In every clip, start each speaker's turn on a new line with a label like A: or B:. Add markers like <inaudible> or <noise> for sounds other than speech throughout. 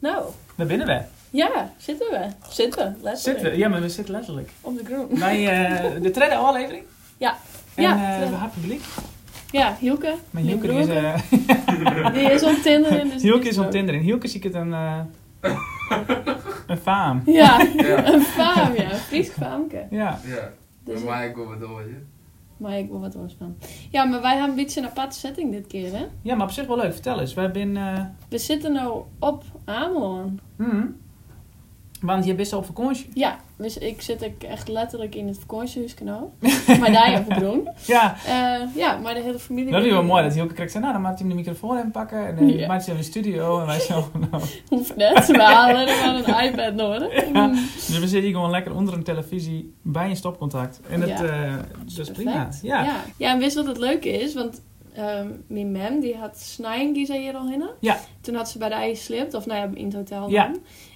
A: Nou,
B: Daar binnen we.
A: ja, zitten we. Zitten, letterlijk.
B: Zitten we? Ja, maar we zitten letterlijk.
A: Op de groen.
B: Wij, eh, de derde aflevering.
A: Ja.
B: En
A: Ja,
B: eh,
A: tweede.
B: we hebben publiek.
A: Ja, Hielke.
B: Maar
A: die
B: Hielke die is,
A: broer,
B: eh, <laughs>
A: die is op Tinder. en Dus
B: Hielke
A: die
B: is op Tinder. En Hielke zie ik het een, eh, een faam.
A: Ja,
C: Ja.
A: een faam, ja. Een Fries faamke.
B: Ja.
C: Ja,
A: Dus,
C: maar ik kom het door, je.
A: maar ik wil wat anders van. Ja, maar wij hebben een beetje een aparte setting dit keer, hè.
B: ja, maar op zich wel leuk. Vertel eens. Wij zijn... eh,
A: We zitten nou op Ameland.
B: hmm. want je bent al op vakantie.
A: Ja, dus ik zit ook echt letterlijk in het
B: <laughs>
A: vakantiehuiskanaal. Maar daar op de groen.
B: Ja.
A: Eh, ja, maar de hele familie...
B: Dat is wel mooi dat Hielke krijgt zei, nou dan maakt hij hem de microfoon en pakken en uh,
A: Ja.
B: maakt hij hem in de studio en wij
A: <laughs>
B: zo. Nou.
A: Hoeft net, we halen er maar een iPad nodig.
B: Ja. Dus we zitten hier gewoon lekker onder een televisie bij een stopcontact. En dat,
A: Ja.
B: eh, dat is prima.
A: Perfect.
B: Ja.
A: ja. Ja, en wist wat het leuke is? Want ehm mijn mem, die had snijing, die zei hier al heen.
B: Ja.
A: Toen had ze bij de ei slipt, of nou ja, in het hotel dan.
B: Ja.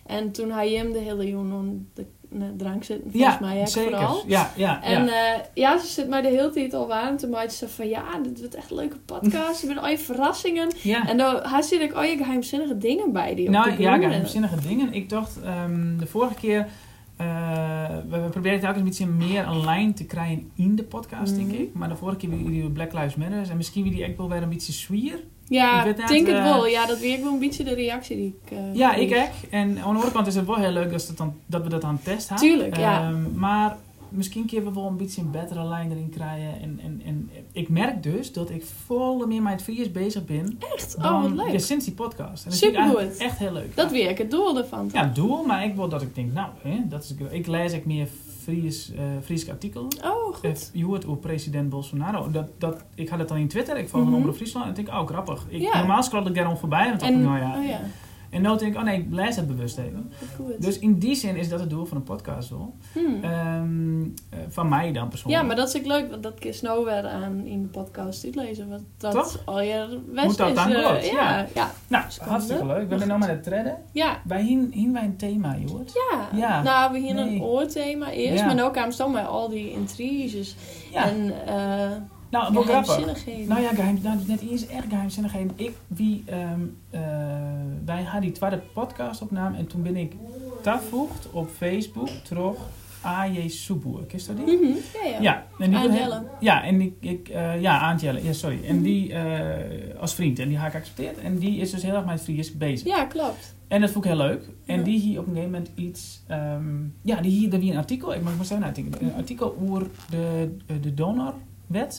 A: En toen hij hem de hele jongen om de nee, drank zitten, volgens mij hè, vooral.
B: Ja, ja,
A: En
B: ja.
A: ja. ja, ze zit mij de hele tijd al aan. Toen maakte ze van, ja, dit wordt echt een leuke podcast. Er zijn al je verrassingen.
B: ja.
A: En dan had ze ook al je geheimzinnige dingen bij die op de
B: nou ja,
A: groene.
B: geheimzinnige dingen. Ik dacht ehm, de vorige keer, eh, we, we proberen telkens een beetje meer een lijn te krijgen in de podcast,
A: Mhm.
B: denk ik. Maar de vorige keer wie die Black Lives Matter en misschien wie die echt wel weer een beetje zwier. Ik
A: Ja,
B: weet
A: ik
B: net,
A: denk het
B: eh,
A: wel. Ja, dat weer ik wel een beetje de reactie die ik... eh,
B: Ja,
A: kreeg.
B: ik echt. En aan de andere kant is het wel heel leuk dat, ze dat, dan, dat we dat aan het testen hebben.
A: Tuurlijk, ja.
B: Ehm, maar misschien kunnen we wel een beetje een betere lijn erin krijgen. En, en, en ik merk dus dat ik volle meer met Fries bezig ben.
A: Echt? Oh, wat
B: dan-
A: leuk.
B: ja, sinds die podcast. En dat vind ik
A: Supergoed.
B: eigenlijk echt heel leuk.
A: Dat weer ik het doel ervan. toch?
B: Ja, doel, maar ik wil dat ik denk, nou, hè, dat is, ik lees ook meer Fries, eh Friese artikelen.
A: Oh, goed.
B: Het- Je hoort over president Bolsonaro. Dat, dat, ik had het dan in Twitter, ik volg
A: Mhm.
B: hem over Friesland. En ik denk, oh, grappig. Ik,
A: Ja.
B: Normaal scroll ik daarom voorbij. En,
A: En,
B: en, nou ja.
A: oh ja,
B: en nu denk ik, oh nee, ik lees het bewust even.
A: wat goed.
B: Dus in die zin is dat het doel van een podcast wel.
A: Hmm.
B: Ehm, eh, van mij dan persoonlijk.
A: ja, maar dat is ook leuk, want dat kun je nou weer aan in de podcast uitlezen. Want dat
B: Toch?
A: al je best
B: Moet dat
A: is.
B: dan
A: eh,
B: klopt,
A: ja, ja,
B: Nou, hartstikke leuk. We zijn nou met het treden.
A: ja.
B: Wij hien, hien wij een thema, Joort.
A: Ja.
B: Ja.
A: nou we hier een
B: Nee.
A: oorthema eerst,
B: Ja.
A: maar ook kwamen ze met al die intriges
B: Ja.
A: en eh
B: nou, wel grappig.
A: geheimzinnigheden.
B: Nou ja, geheim, nou, net eerst erg geheimzinnigheden. Ik, wie, ehm, eh, wij hadden die tweede podcast opname en toen ben ik toegevoegd op Facebook terug AJ Soeboer. Kist dat die?
A: Mhm, ja, ja.
B: Ja, en die
A: Aantje
B: doet-
A: Jelle.
B: Ja, en ik, ik eh, ja, Aantje Jelle, ja, sorry. En die eh, als vriend, en die heb ik geaccepteerd. En die is dus heel erg met Fries bezig.
A: Ja, klopt.
B: En dat vond ik heel leuk. En
A: Ja.
B: die hier op een gegeven moment iets. ehm, ja, die hier, daar hier een artikel. Ik mag maar zeggen, nou, ik denk, een artikel over de, de donorwet.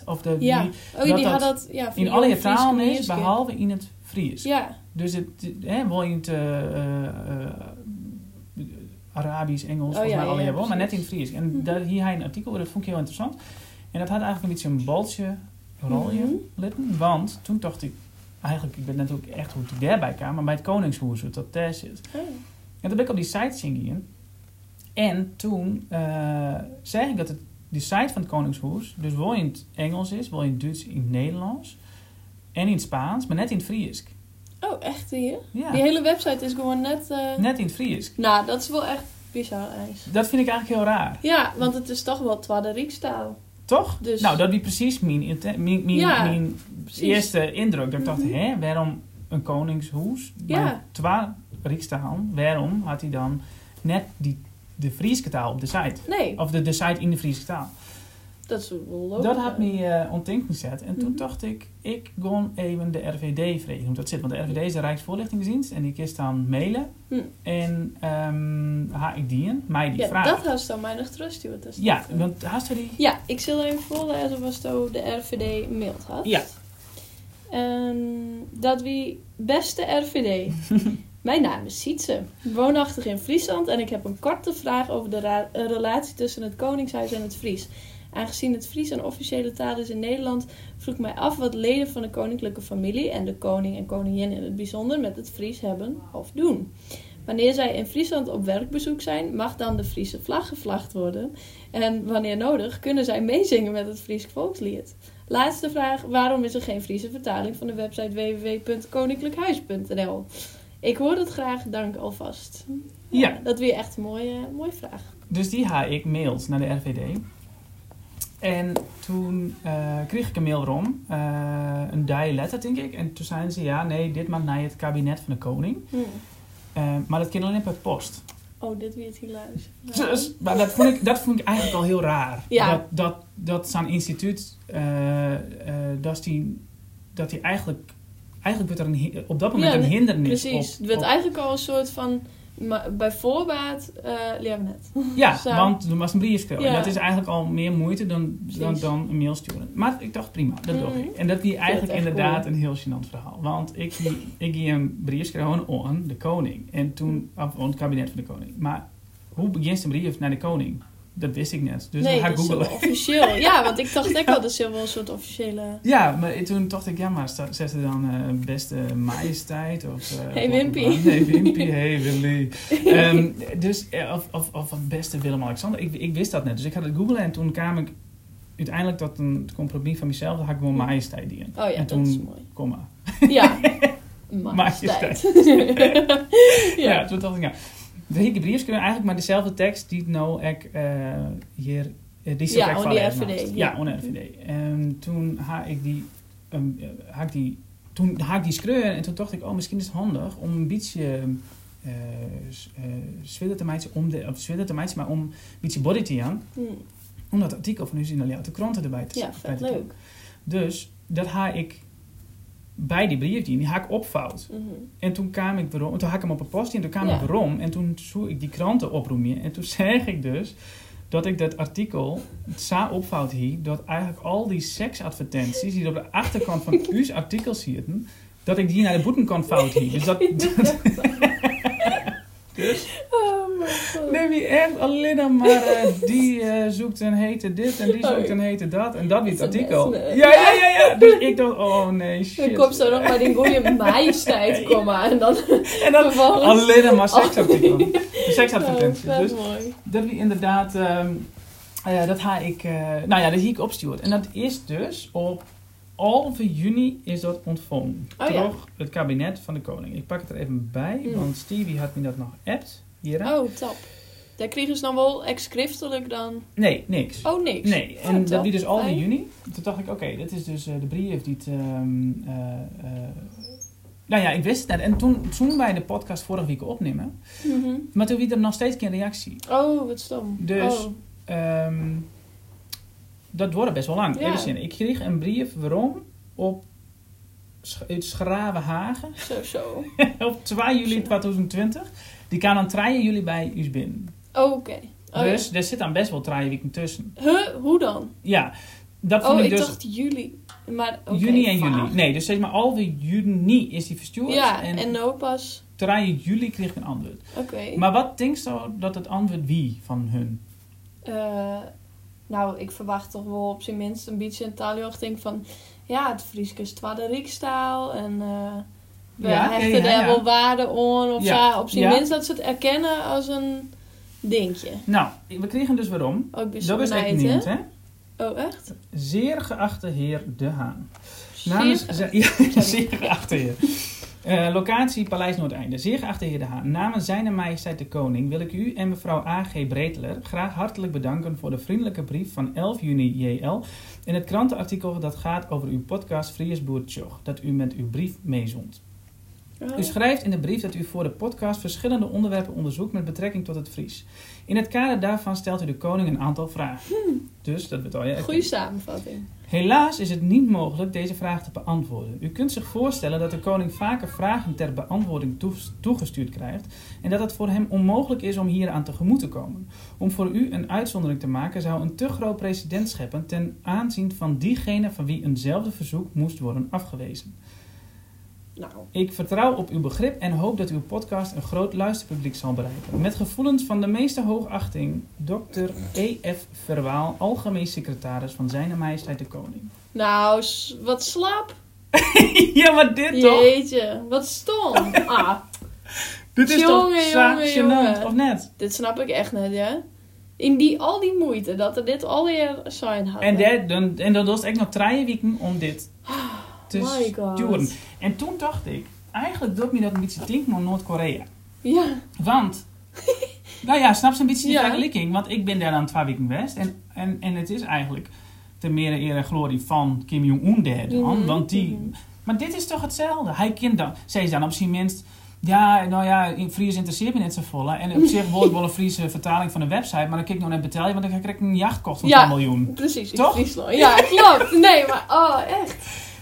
B: Of de,
A: Ja,
B: die
A: Oh,
B: Dat
A: die
B: dat
A: had dat ja, voor
B: in alle je
A: jonge Friese
B: talen is,
A: communisten.
B: behalve in het Fries.
A: Ja,
B: Dus het, het- hè, wel in het eh, eh, eh, Arabisch, Engels, volgens
A: Oh, ja,
B: mij
A: ja,
B: alle
A: ja,
B: jaren wel, maar net in het
A: precies.
B: Fries.
A: Mhm.
B: En daar, hier hij een artikel, over, dat vond ik heel interessant. En dat had eigenlijk een beetje een baltje, rolje
A: Mhm.
B: litten. Want toen dacht ik, eigenlijk, ik ben natuurlijk echt hoe ik daarbij kwam, maar bij het Koningshoer zit dat daar zit.
A: Oh,
B: En toen ben ik op die site zingen. En toen eh zei ik dat het, die site van het Koningshoes, dus wel in het Engels is, wel in het Duits, in het Nederlands en in het Spaans, maar net in het Fries.
A: oh echt hier?
B: Ja,
A: Die hele website is gewoon net... eh,
B: net in het Fries.
A: Nou, dat is wel echt bizar ijs.
B: Dat vind ik eigenlijk heel raar,
A: Ja, want het is toch wel Twadde Riekstaal.
B: toch?
A: Dus-
B: Nou, dat die precies mijn, inte- mijn, mijn,
A: Ja,
B: mijn
A: precies.
B: eerste indruk. Dat ik dacht,
A: Mhm.
B: hè, waarom een koningshoes?
A: Ja.
B: Twa Rikstaan, waarom had hij dan net die, de Friese taal op de site?
A: Nee,
B: Of de, de site in de Friese taal?
A: dat is wel logisch.
B: Oh. Dat had me eh ontinkt gezet. En toen
A: Mhm.
B: dacht ik, ik gon even de RVD vragen hoe dat zit. Want de RVD is de Rijksvoorlichtingsdienst en die kist dan mailen.
A: Hm.
B: En ehm ha ik die een, mij die
A: Ja,
B: vraag.
A: dat had ze dan mij nog trust, die wat dat is.
B: Ja, want haast die...
A: Ja, ik zal er even voorlezen wat zo de RVD mailt had.
B: Ja.
A: Ehm, dat wie beste RVD. Mijn naam is Sietse, woonachtig in Friesland en ik heb een korte vraag over de ra- eh, relatie tussen het Koningshuis en het Fries. Aangezien het Fries een officiële taal is in Nederland, vroeg mij af wat leden van de koninklijke familie en de koning en koningin in het bijzonder met het Fries hebben of doen. Wanneer zij in Friesland op werkbezoek zijn, mag dan de Friese vlag gevlacht worden. En wanneer nodig, kunnen zij meezingen met het Fries volkslied. Laatste vraag, waarom is er geen Friese vertaling van de website www.koninklijkhuis.nl? Ik hoor het graag, dank alvast.
B: Ja.
A: Dat weer echt een mooie, mooie vraag.
B: Dus die ha ik mailt naar de RVD. En toen eh, kreeg ik een mail erom, eh, een die letter denk ik. En toen zeiden ze, ja nee, dit maakt naar het kabinet van de koning. Eh, maar dat kan alleen per post.
A: Oh, dit weer het hilarisch.
B: Dus, maar dat vond, ik, dat vond ik eigenlijk al heel raar.
A: Ja.
B: Dat, dat, dat zo'n instituut, eh, eh, dat die, dat die eigenlijk, eigenlijk wordt er een, hi- op dat moment
A: Ja,
B: een hindernis
A: Precies.
B: op.
A: het werd
B: op-
A: eigenlijk al een soort van. ma- Bij voorbaat eh leren we net.
B: ja,
A: zo.
B: want er was een briefskril.
A: Ja.
B: En dat is eigenlijk al meer moeite dan, dan,
A: Precies.
B: dan een mail sturen. Maar ik dacht prima, dat doe
A: Mhm.
B: ik. En dat die eigenlijk
A: echt
B: inderdaad
A: cool.
B: een heel gênant verhaal. Want ik, gie- ik ging een brief schrijven aan de koning. En toen, of aan het kabinet van de koning. Maar hoe begint een brief naar de koning? Dat wist ik net. Dus
A: nee,
B: dan ga ik
A: dat is
B: googlen.
A: wel officieel. Ja, want ik
B: <laughs>
A: dacht ik al, dat is wel een soort officiële.
B: Ja, maar toen dacht ik, ja, maar sta- zet ze dan eh, beste majesteit of... eh,
A: Hey,
B: bla, bla,
A: Wimpy.
B: bla.
A: <laughs>
B: Hey Wimpy, hey Willy. Ehm, dus, eh, of, of, of van beste Willem-Alexander. Ik, ik wist dat net, dus ik had het googlen en toen kwam ik uiteindelijk tot een compromis van mezelf. Dan had ik gewoon majesteit in.
A: Oh ja,
B: en toen,
A: dat is mooi.
B: komma.
A: <laughs> Ja.
B: Majesteit.
A: Majesteit.
B: <laughs> Ja.
A: ja.
B: toen dacht ik, ja. De hele briefs kunnen eigenlijk maar dezelfde tekst die nou ik eh, hier... eh, die zit
A: Ja,
B: ik
A: on
B: van
A: die
B: Leeuwen
A: RVD,
B: naast.
A: ja.
B: Ja, on RVD. En Ehm, toen haak ik die... ehm, eh, haak die toen haak ik die screur en toen dacht ik, oh, misschien is het handig om een beetje... eh s- eh, zwillen te meiden om de, of zwillen te meiden, maar om een beetje body te gaan.
A: Hm,
B: Om dat artikel van Usina Leeuw de kranten erbij te
A: ja,
B: bij
A: vet
B: te doen.
A: leuk.
B: Dus dat haak ik bij die brief die, die haak ik opvouwt.
A: Mhm. <laughs>
B: En toen kwam ik erom, toen had ik hem op een post en toen kwam
A: Ja.
B: ik erom en toen zoek ik die kranten oproemen en toen <laughs> zeg ik dus dat ik dat artikel sa opvouwt hier dat eigenlijk al die seksadvertenties die op de
A: <laughs>
B: achterkant van uw artikel zitten, dat ik die naar de boetenkant fout hier. Dus
A: <laughs>
B: dat, dat dus
A: Oh my god.
B: neem je echt alleen dan maar eh, die eh, zoekt een hete dit en die zoekt een hete dat en dat weer het
A: Oh, Dat is een
B: artikel.
A: mes,
B: Ja
A: nee.
B: ja ja ja. Dus ik dacht oh nee
A: <laughs> Dan
B: shit.
A: komt zo nog maar die
B: <laughs>
A: goede majesteit, komma. En dan,
B: En dan
A: vervolgens...
B: Alleen dan maar seksartikel. Seksadvertenties.
A: Oh,
B: Dus
A: vet mooi.
B: dat we inderdaad, ehm, eh, dat ga ik, eh, nou ja, dat hier ik opstuurd. En dat is dus op 11 juni is dat ontvangen.
A: Oh ja.
B: Door het kabinet van de koning. Ik pak het er even bij,
A: Mm.
B: want Stevie had me dat nog appt. Hier.
A: Oh, top. Daar kregen ze dan wel ex-schriftelijk dan...
B: Nee, niks.
A: Oh, niks.
B: Nee,
A: Oh,
B: en dat
A: top.
B: die dus 11
A: Fijn.
B: juni. Toen dacht ik, oké, dit is dus eh, de brief die het... ehm, eh, eh, nou ja, ik wist het net. En toen, toen wij de podcast vorige week opnemen,
A: Mhm.
B: maar toen wie er nog steeds geen reactie.
A: Oh, wat stom.
B: Dus-
A: Oh.
B: Ehm, dat wordt best wel lang.
A: Ja.
B: Even zin. Ik kreeg een brief waarom op Sch- uit Schravenhagen <laughs>
A: Zo, zo.
B: op 2 juli 2020. Die kan dan 3 juli bij u binnen.
A: Oh, Oké. Oh, ja.
B: dus er zit dan best wel 3 weken tussen.
A: Huh? Hoe dan?
B: Ja, dat vond
A: oh,
B: ik
A: ik
B: dus
A: dacht juli. Maar oké,
B: juni en
A: vaag.
B: juli. Nee, dus zeg maar alweer juni is die verstuurd.
A: Ja,
B: en,
A: en nou pas.
B: 3 juli kreeg ik een antwoord.
A: Oké.
B: Maar wat denk je zo dat het antwoord wie van hun?
A: Eh, nou, ik verwacht toch wel op zijn minst een beetje een taaljochting van... Ja, het Frieske is twa de Rijkstaal en... eh we
B: Ja,
A: hechten
B: ja, ja,
A: daar
B: ja.
A: wel waarde aan. Of
B: Ja,
A: zo. op zijn
B: ja.
A: minst dat ze het erkennen als een dingetje.
B: Nou, we kregen dus waarom.
A: Ook dus
B: Dat is echt
A: benijd,
B: niet, hè?
A: hè? Oh, echt?
B: Zeer geachte heer De Haan. Namens,
A: Zeer-
B: ze- <laughs> ja, zeer geachte heer. Eh, locatie Paleis Noordeinde. Zeer geachte heer De Haan. Namens zijn en majesteit de koning wil ik u en mevrouw A.G. Breteler graag hartelijk bedanken voor de vriendelijke brief van 11 juni JL in het krantenartikel dat gaat over uw podcast Friesboer Tjoch, dat u met uw brief meezond.
A: Oh.
B: U schrijft in de brief dat u voor de podcast verschillende onderwerpen onderzoekt met betrekking tot het Fries. In het kader daarvan stelt u de koning een aantal vragen. Dus dat betaal je echt.
A: Hm. Goeie samenvatting.
B: Helaas is het niet mogelijk deze vraag te beantwoorden. U kunt zich voorstellen dat de koning vaker vragen ter beantwoording toes- toegestuurd krijgt en dat het voor hem onmogelijk is om hieraan tegemoet te komen. Om voor u een uitzondering te maken zou een te groot precedent scheppen ten aanzien van diegene van wie eenzelfde verzoek moest worden afgewezen.
A: Nou,
B: Ik vertrouw op uw begrip en hoop dat uw podcast een groot luisterpubliek zal bereiken. Met gevoelens van de meeste hoogachting, Dr. E.F. Verwaal, algemeen secretaris van Zijne Majesteit de Koning.
A: nou s- wat slap.
B: <laughs> ja, maar dit toch?
A: Jeetje, wat stom.
B: <laughs>
A: Ah,
B: Dit is
A: Jongen,
B: toch sa-
A: jongen,
B: gênant,
A: jongen.
B: of net?
A: Dit snap ik echt net, ja. In die, al die moeite dat er dit alweer zijn had.
B: En, dat- dan, en dan was het echt nog drie weken om
A: <gasps>
B: dit te
A: My God.
B: sturen. En toen dacht ik, eigenlijk doet me dat een beetje denken aan Noord-Korea.
A: Ja, <laughs>
B: Want, nou ja, snap ze een beetje die
A: Ja.
B: vergelijking? Want ik ben daar dan twee weken geweest. En, en, en het is eigenlijk ter meer eer en glorie van Kim Jong-un daar dan.
A: Mhm,
B: Want die...
A: mhm.
B: Maar dit is toch hetzelfde? Hij kent dan... Zij is dan op zijn minst... Ja, nou ja, in Fries interesseert me net zo vol. hè.
A: <laughs>
B: En op zich wordt wel een Friese vertaling van een website, maar dan kijk ik nog naar betel je, want dan krijg ik een jachtkost van
A: Ja.
B: 10 miljoen.
A: Precies, in
B: Toch?
A: Friesland. Ja, klopt. Nee, maar oh, echt.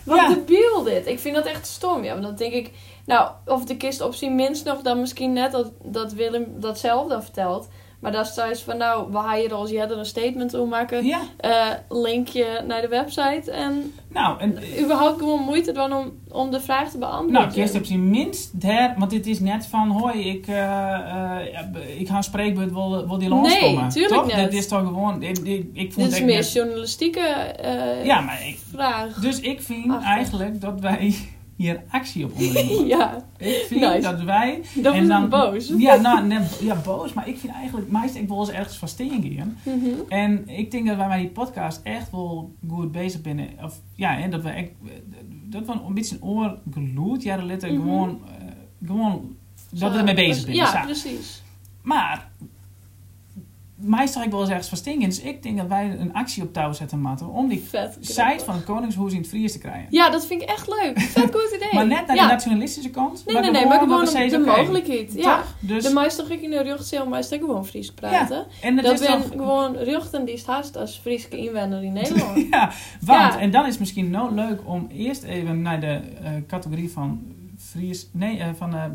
A: Wat
B: Ja.
A: debiel dit. Ik vind dat echt stom. Ja, want dan denk ik, nou, of de kist op zijn minst nog dan misschien net dat, dat Willem dat zelf dan vertelt. Maar daar staat eens van, nou, we haaien er als jij er een statement om maken.
B: Ja,
A: eh, linkje naar de website. En
B: nou, en,
A: überhaupt gewoon moeite doen om, om de vraag te beantwoorden.
B: nou, eerst heb je minst der, want dit is net van, hoi, ik, eh eh, ja, b- ik ga een spreekbeurt, wil, wil die langs
A: Nee,
B: komen?
A: tuurlijk
B: toch?
A: net.
B: Dit is toch gewoon, ik, ik, ik vond
A: Dit is
B: echt
A: meer
B: net-
A: journalistieke eh,
B: Ja, maar ik,
A: vraag.
B: dus ik vind
A: Achtig.
B: eigenlijk dat wij hier actie op ondernemen.
A: <laughs> ja,
B: Ik vind
A: Nice.
B: dat wij
A: dan
B: en
A: was
B: dan-
A: ik boos.
B: Ja, nou, nee, ja, boos. Maar ik vind eigenlijk, meest, ik wil eens ergens van stingen gaan.
A: Mhm.
B: En ik denk dat wij met die podcast echt wel goed bezig binnen. Of, ja, en dat we echt, dat we een beetje een oor gloed. Ja, dat letter
A: Mhm.
B: gewoon, eh, gewoon dat we
A: Zo,
B: ermee bezig
A: dus-
B: zijn.
A: Ja, precies.
B: Maar, meestal ik wel eens ergens van stingen. Dus ik denk dat wij een actie op touw zetten, Matten. Om die
A: Vet.
B: site
A: grappig.
B: van het Koningshoes in het Fries te krijgen.
A: Ja, dat vind ik echt leuk. Vet goed idee.
B: Maar net naar
A: ja.
B: de nationalistische kant.
A: Nee, nee, nee, maar gewoon
B: omdat we
A: de, de
B: zeggen, oké,
A: mogelijkheid. Ja.
B: toch? Dus,
A: De meisjes ik in de rugzeel, maar meisjes gewoon Fries praten.
B: en het
A: dat
B: is
A: ben
B: toch-
A: gewoon ruchten die het haast als Friese inwender in Nederland.
B: <laughs> Ja, want,
A: Ja.
B: en dan is het misschien nou leuk om eerst even naar de eh, categorie van Fries, nee, eh, van eh eh,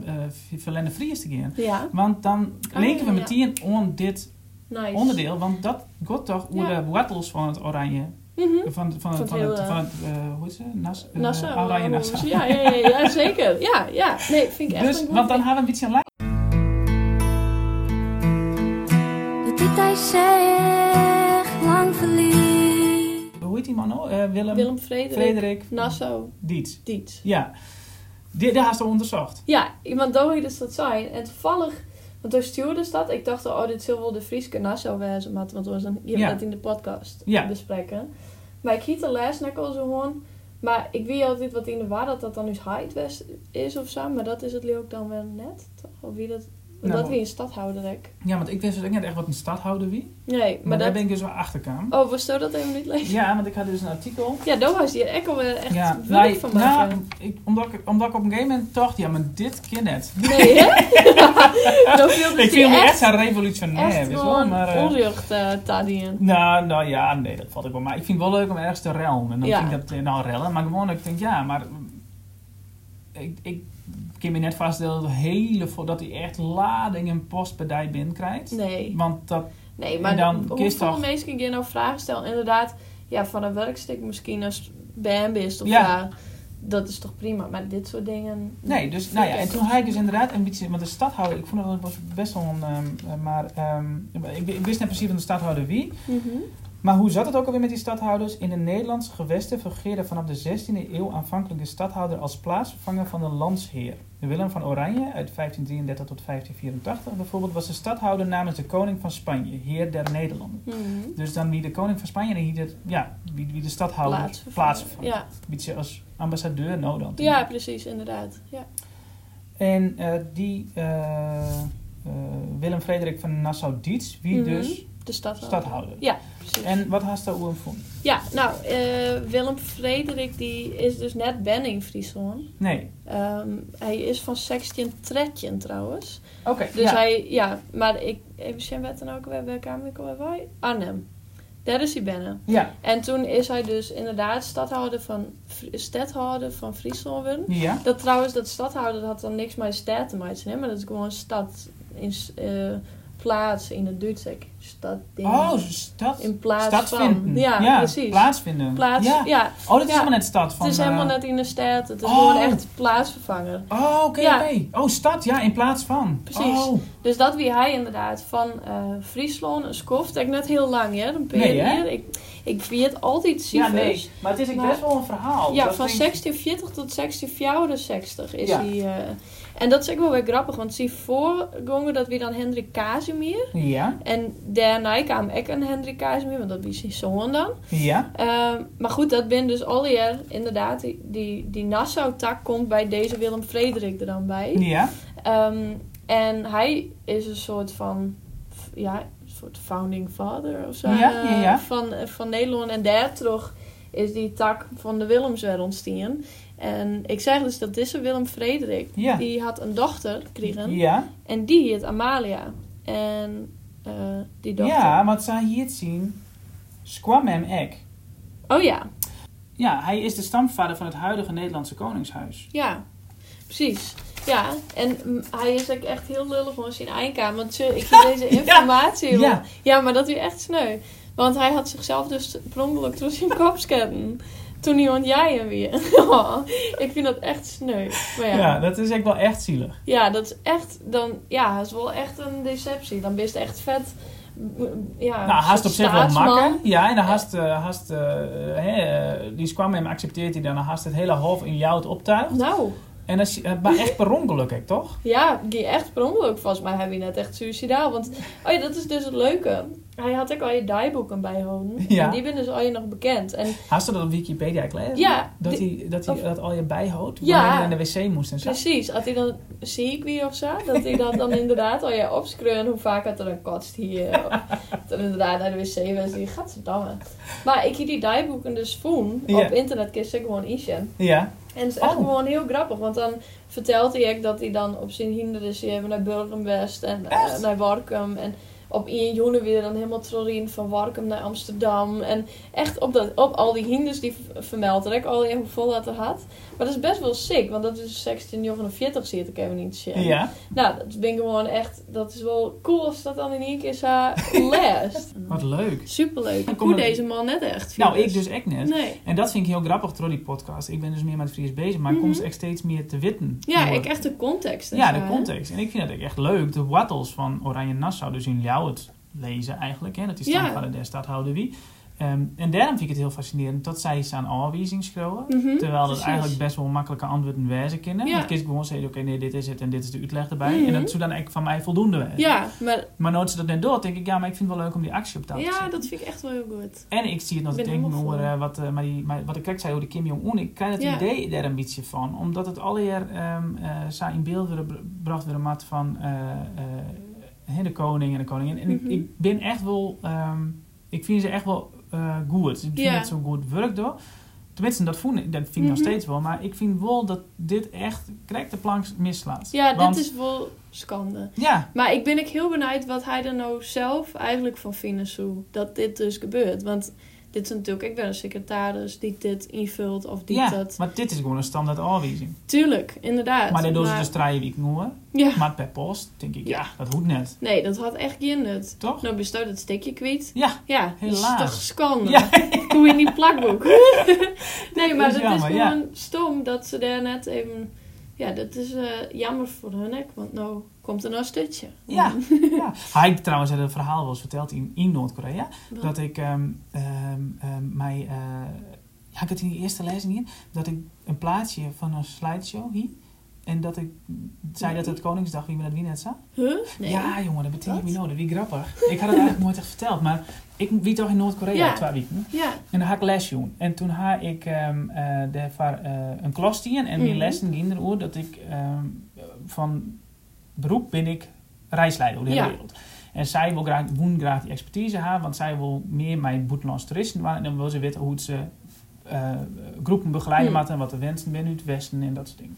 B: Verlende Fries te gaan.
A: ja,
B: Want dan
A: Ah,
B: linken we
A: ja.
B: meteen om dit
A: nice.
B: onderdeel, want dat gaat toch over
A: Ja.
B: de wortels van het oranje.
A: Mhm.
B: Van, van, van,
A: het
B: van
A: heel,
B: het,
A: eh,
B: van het eh, hoe is het? Nas, eh,
A: Nassau.
B: oranje
A: eh,
B: Nassau.
A: Ja, ja, ja, ja, zeker. Ja, ja. Nee, vind ik echt
B: Dus,
A: een goed
B: want dan
A: idee.
B: hebben we een beetje een lijn.
C: Dat dit hij zegt, lang verliefd.
B: Hoe heet die man nou? Eh, Willem,
A: Willem Frederik,
B: Frederik
A: Nassau,
B: Dietz.
A: Dietz.
B: Ja. Dit daar is onderzocht.
A: Ja, iemand dood dus dat zijn. En toevallig, want toen stuurde ze dat. Ik dacht, al, oh, dit zal wel de Frieske Nassau wezen. Maar, want we zijn hier
B: Ja.
A: net in de podcast
B: Ja.
A: bespreken. Maar ik hiet de les net al zo gewoon. Maar ik weet altijd wat in de war dat dat dan dus Hyde West is of zo. Maar dat is het ook dan wel net. Toch? Of wie dat...
B: Nou,
A: dat wie een stadhouder ik.
B: Ja, want ik wist dus ook net echt wat een stadhouder wie.
A: Nee, maar,
B: Maar, daar
A: dat...
B: ben ik dus wel achterkam.
A: Oh, was zo dat even niet lezen?
B: Ja, want ik had dus een artikel
A: Ja, daar was hier echt al eh, echt
B: ja,
A: wild
B: wij-
A: van
B: nou,
A: maken.
B: ik, omdat, ik, omdat ik op een gegeven moment dacht, ja, maar dit kan het.
A: Nee,
B: <laughs>
A: hè? dat viel dus die
B: ik vind me
A: echt,
B: echt zo revolutionair,
A: echt
B: weet je wel.
A: gewoon
B: Maar, eh,
A: onrecht eh, tadien.
B: nou, nou ja, nee, dat valt ook wel. Maar ik vind het wel leuk om ergens te rellen. En dan
A: Ja.
B: vind ik dat, eh, nou, rellen. Maar gewoon, ik denk, ja, maar... mm, Ik, ik kan me net vaststellen dat, hele, vo- dat hij echt ladingen postbedij binnenkrijgt.
A: Nee.
B: Want dat...
A: Nee,
B: En
A: maar
B: dan
A: hoe-
B: kist
A: hoeveel
B: toch?
A: mensen kun je nou vragen stellen? Inderdaad, ja, van een werkstuk misschien als BM is of
B: Ja.
A: ja. Dat is toch prima, maar dit soort dingen...
B: Nee, dus, nou ja, en toen had ik dus inderdaad een beetje... Want de stadhouder, ik vond dat het was best wel een... ehm, eh, maar ehm, ik, ik wist net precies van de stadhouder wie.
A: Mhm.
B: Maar hoe zat het ook alweer met die stadhouders? In de Nederlandse gewesten fungeerde vanaf de 16e eeuw aanvankelijk de stadhouder als plaatsvervanger van de landsheer. Willem van Oranje uit 1533 tot 1584 bijvoorbeeld was de stadhouder namens de koning van Spanje, heer der Nederlanden.
A: Mhm.
B: Dus dan wie de koning van Spanje en wie de, ja, wie, wie de stadhouder
A: Plaatsvervanger.
B: plaatsvervangt.
A: Ja.
B: Een beetje als ambassadeur nou dan.
A: ja, precies, inderdaad. Ja.
B: En eh, die eh, eh, Willem Frederik van Nassau-Dietz, wie
A: Mhm.
B: dus
A: De stadhouder.
B: stadhouder.
A: Ja, precies.
B: En wat haast daar vond?
A: Ja, nou, eh, Willem Frederik die is dus net Ben in Friesland.
B: Nee.
A: Ehm, hij is van 16 Tretjen trouwens.
B: Oké.
A: Dus
B: ja.
A: hij, ja, maar ik, even zien wat dan ook, weer bij kamer ik bij Arnhem. Daar is hij binnen.
B: Ja.
A: En toen is hij dus inderdaad stadhouder van, Fri- stadhouder van Friesland worden.
B: Ja.
A: Dat trouwens, dat stadhouder dat had dan niks met stad te maken, hè, maar dat is gewoon een stad in s- eh, plaats in het Duits. ik. Stad ding.
B: Oh, stad,
A: in plaats
B: stadsvinden.
A: van. Ja, precies.
B: Plaatsvinden.
A: plaats, ja.
B: ja. Oh, dat is
A: Ja.
B: helemaal net stad. Van,
A: het is helemaal
B: eh,
A: net in de stad. Het is
B: Oh.
A: gewoon echt plaatsvervanger.
B: Oh, oké,
A: Ja.
B: oké. Oh, stad, ja, in plaats van.
A: Precies.
B: Oh,
A: Dus dat wie hij inderdaad van eh Friesland, een skoft. Ik net heel lang, hè? Dan ben je
B: Nee, hè?
A: hier. Ik, ik vind het altijd
B: ja,
A: zievers.
B: nee. Maar het is echt
A: Maar-
B: best wel een verhaal.
A: Ja,
B: Dat
A: van
B: denk-
A: 1640 tot 1664 is
B: Ja.
A: hij. eh, en dat is ook wel weer grappig, want zie voorgongen dat we dan Hendrik Casimir.
B: Ja,
A: En daarna kwam ik een Hendrik Casimir, want dat was zijn zoon dan.
B: ja.
A: Ehm, maar goed, dat ben dus al hier inderdaad, die, die, die Nassau-tak komt bij deze Willem Frederik er dan bij.
B: Ja,
A: Ehm, en hij is een soort van, ja, een soort founding father of zo.
B: Ja, ja,
A: eh,
B: ja.
A: Van, van Nederland. En daardoor is die tak van de Willems weer ontstaan. En ik zeg dus dat deze Willem Frederik,
B: Ja.
A: die had een dochter gekregen.
B: Ja,
A: En die heet Amalia. En eh, die dochter.
B: ja want zij hier zien Squamem Ek.
A: Oh ja,
B: Ja, hij is de stamvader van het huidige Nederlandse koningshuis.
A: ja. Precies. Ja, en mm, hij is ook echt heel lullig van zijn eindkamer. Want zo- ik
B: <laughs>
A: heb deze informatie. hoor.
B: ja.
A: ja, maar dat is echt sneu. Want hij had zichzelf dus per ongeluk door zijn <laughs> kop scannen. Toen iemand jij hem weer. <laughs> Oh, ik vind dat echt sneu. Maar
B: Ja.
A: ja.
B: dat is echt wel echt zielig.
A: Ja, dat is echt dan. Ja, dat is wel echt een deceptie. Dan ben je echt vet. m- m- Ja,
B: nou, haast op zich wel
A: staatsman.
B: makker. Ja, en dan haast, eh, haast eh, hè, eh, die Squamem accepteert hij dan, dan haast het hele half in jou het optuigt.
A: Nou,
B: En dat is eh, maar echt per ongeluk, hè, toch?
A: ja, die echt per ongeluk vast. Maar hij wie net echt suicidaal. Want, oh ja, dat is dus het leuke. Hij had ook al je dagboeken bijhouden.
B: Ja.
A: En die ben dus al je nog bekend. En
B: Haast dat op Wikipedia gelezen?
A: Ja,
B: Dat
A: die-
B: hij dat, hij
A: of-
B: dat al je bijhoudt,
A: Ja.
B: wanneer je naar de wc moest en zo.
A: precies, had hij dan zie ik wie of zo? Dat hij dat
B: <laughs>
A: dan inderdaad al je opskreun. Hoe vaak had er dan kotst hier. Dat inderdaad naar de wc was. Die gaat ze dammen. Maar ik hier die dagboeken dus voen.
B: Ja.
A: Op internet kun je ze gewoon inzien.
B: Ja,
A: En het is echt
B: Oh.
A: gewoon heel grappig, want dan vertelt hij ook dat hij dan op zijn hinder is hebben naar Burgenwest en eh,
B: Echt?
A: naar Warkum. En op 1 juni weer dan helemaal trorien van Warkum naar Amsterdam. En echt op, dat, op al die hinders die v- vermeldt er ook al in hoeveel dat er had. Maar dat is best wel sick, want dat is 1649 zie ik even niet shit.
B: ja.
A: Nou, dat ben ik gewoon echt, dat is wel cool als dat dan in één keer
B: <laughs>
A: zo leest.
B: Wat leuk.
A: Superleuk.
B: Dan
A: Ik
B: komen
A: hoe
B: we-
A: deze man net echt.
B: Nou,
A: vind
B: ik dus echt net.
A: Nee.
B: En dat vind ik heel grappig, door die podcast. Ik ben dus meer met Fries bezig, maar ik kom
A: Mhm.
B: ze echt steeds meer te witten.
A: Ja,
B: door-
A: ik echt de context. en
B: Ja,
A: zo,
B: de
A: hè?
B: context. En ik vind dat ook echt leuk. De wattels van Oranje Nassau, dus in jou het lezen eigenlijk. Hè? Dat is
A: Ja.
B: stamvader der stadhouder wie. Ehm, en daarom vind ik het heel fascinerend dat zij ze aan aanwijzing schreeuwen.
A: Mhm,
B: Terwijl dat
A: precies.
B: eigenlijk best wel makkelijke antwoorden wijzen kunnen.
A: Ja.
B: Want kies ik gewoon zeggen, oké, nee, dit is het en dit is de uitleg erbij.
A: Mhm.
B: En dat zou dan eigenlijk van mij voldoende zijn.
A: Ja, maar
B: Maar nooit ze dat net door, denk ik, ja, maar ik vind het wel leuk om die actie op tafel te
A: Ja,
B: zetten.
A: dat vind ik echt wel heel goed.
B: En ik zie het nog
A: Ik
B: te
A: ben
B: denken
A: helemaal
B: over
A: voor.
B: eh, wat, eh, maar die, maar wat ik kijk zei over de Kim Jong-un. Ik krijg het
A: Ja.
B: idee daar een beetje van. Omdat het allereer ehm eh, zij in beeld weer bracht weer een mat van eh, eh, hè, de koning en de koningin. En
A: Mhm.
B: ik, ik ben echt wel... ehm, ik vind ze echt wel eh, goed. Ik vind
A: Ja.
B: het zo goed werk door. Tenminste, dat, voel, ik- dat vind ik nog
A: Mhm.
B: steeds wel. Maar ik vind wel dat dit echt correct de plank mislaat.
A: Ja,
B: Want-
A: dit is wel schande.
B: Ja,
A: Maar ik ben ook heel benieuwd wat hij er nou zelf eigenlijk van vindt, zo, dat dit dus gebeurt. Want dit is natuurlijk, ik ben een secretaris die dit invult of die
B: ja.
A: dat.
B: maar dit is gewoon een standaard aanwijzing.
A: Tuurlijk, inderdaad.
B: Maar daardoor is het dus drie weken hoor.
A: Ja,
B: Maar per post denk ik, ja, dat hoeft net.
A: nee, dat had echt geen nut.
B: Toch?
A: Nou, bestaat het stikje kwijt.
B: Ja,
A: Ja,
B: Helaas.
A: dat is toch schande.
B: Ja.
A: Doe in die
B: <laughs>
A: plakboek. nee, maar
B: is
A: dat is
B: jammer, ja.
A: gewoon stom dat ze daar net even... Ja, dat is eh, jammer voor hun, hè, want nou komt er nou een stutje.
B: Ja, ja. Hij trouwens had een verhaal wel eens verteld in, in Noord-Korea.
A: Wat?
B: Dat ik ehm ehm, ehm, mij. eh, ja, ik had in die eerste lezing hier. Dat ik een plaatje van een slideshow hier. En dat ik zei dat het Koningsdag, wie me dat wie net zag.
A: Huh? Nee.
B: Ja, jongen, dat betekent
A: Wat?
B: niet nodig. Wie grappig. ik had het eigenlijk nooit echt verteld. Maar ik wie toch in Noord-Korea hm?
A: Ja.
B: twee weken.
A: Ja.
B: En dan had ik les doen. En toen had ik ehm eh, daarvoor eh, een klas dienen. En die
A: Mhm.
B: lessen gingen erover dat ik ehm, van beroep ben ik reisleider over de hele
A: Ja.
B: wereld. En zij wil graag, woon graag die expertise hebben. Want zij wil meer mijn buitenlands toeristen waren. En dan wil ze weten hoe ze eh, groepen begeleiden.
A: Mhm.
B: maakt En wat de wensen binnen het westen en dat soort dingen.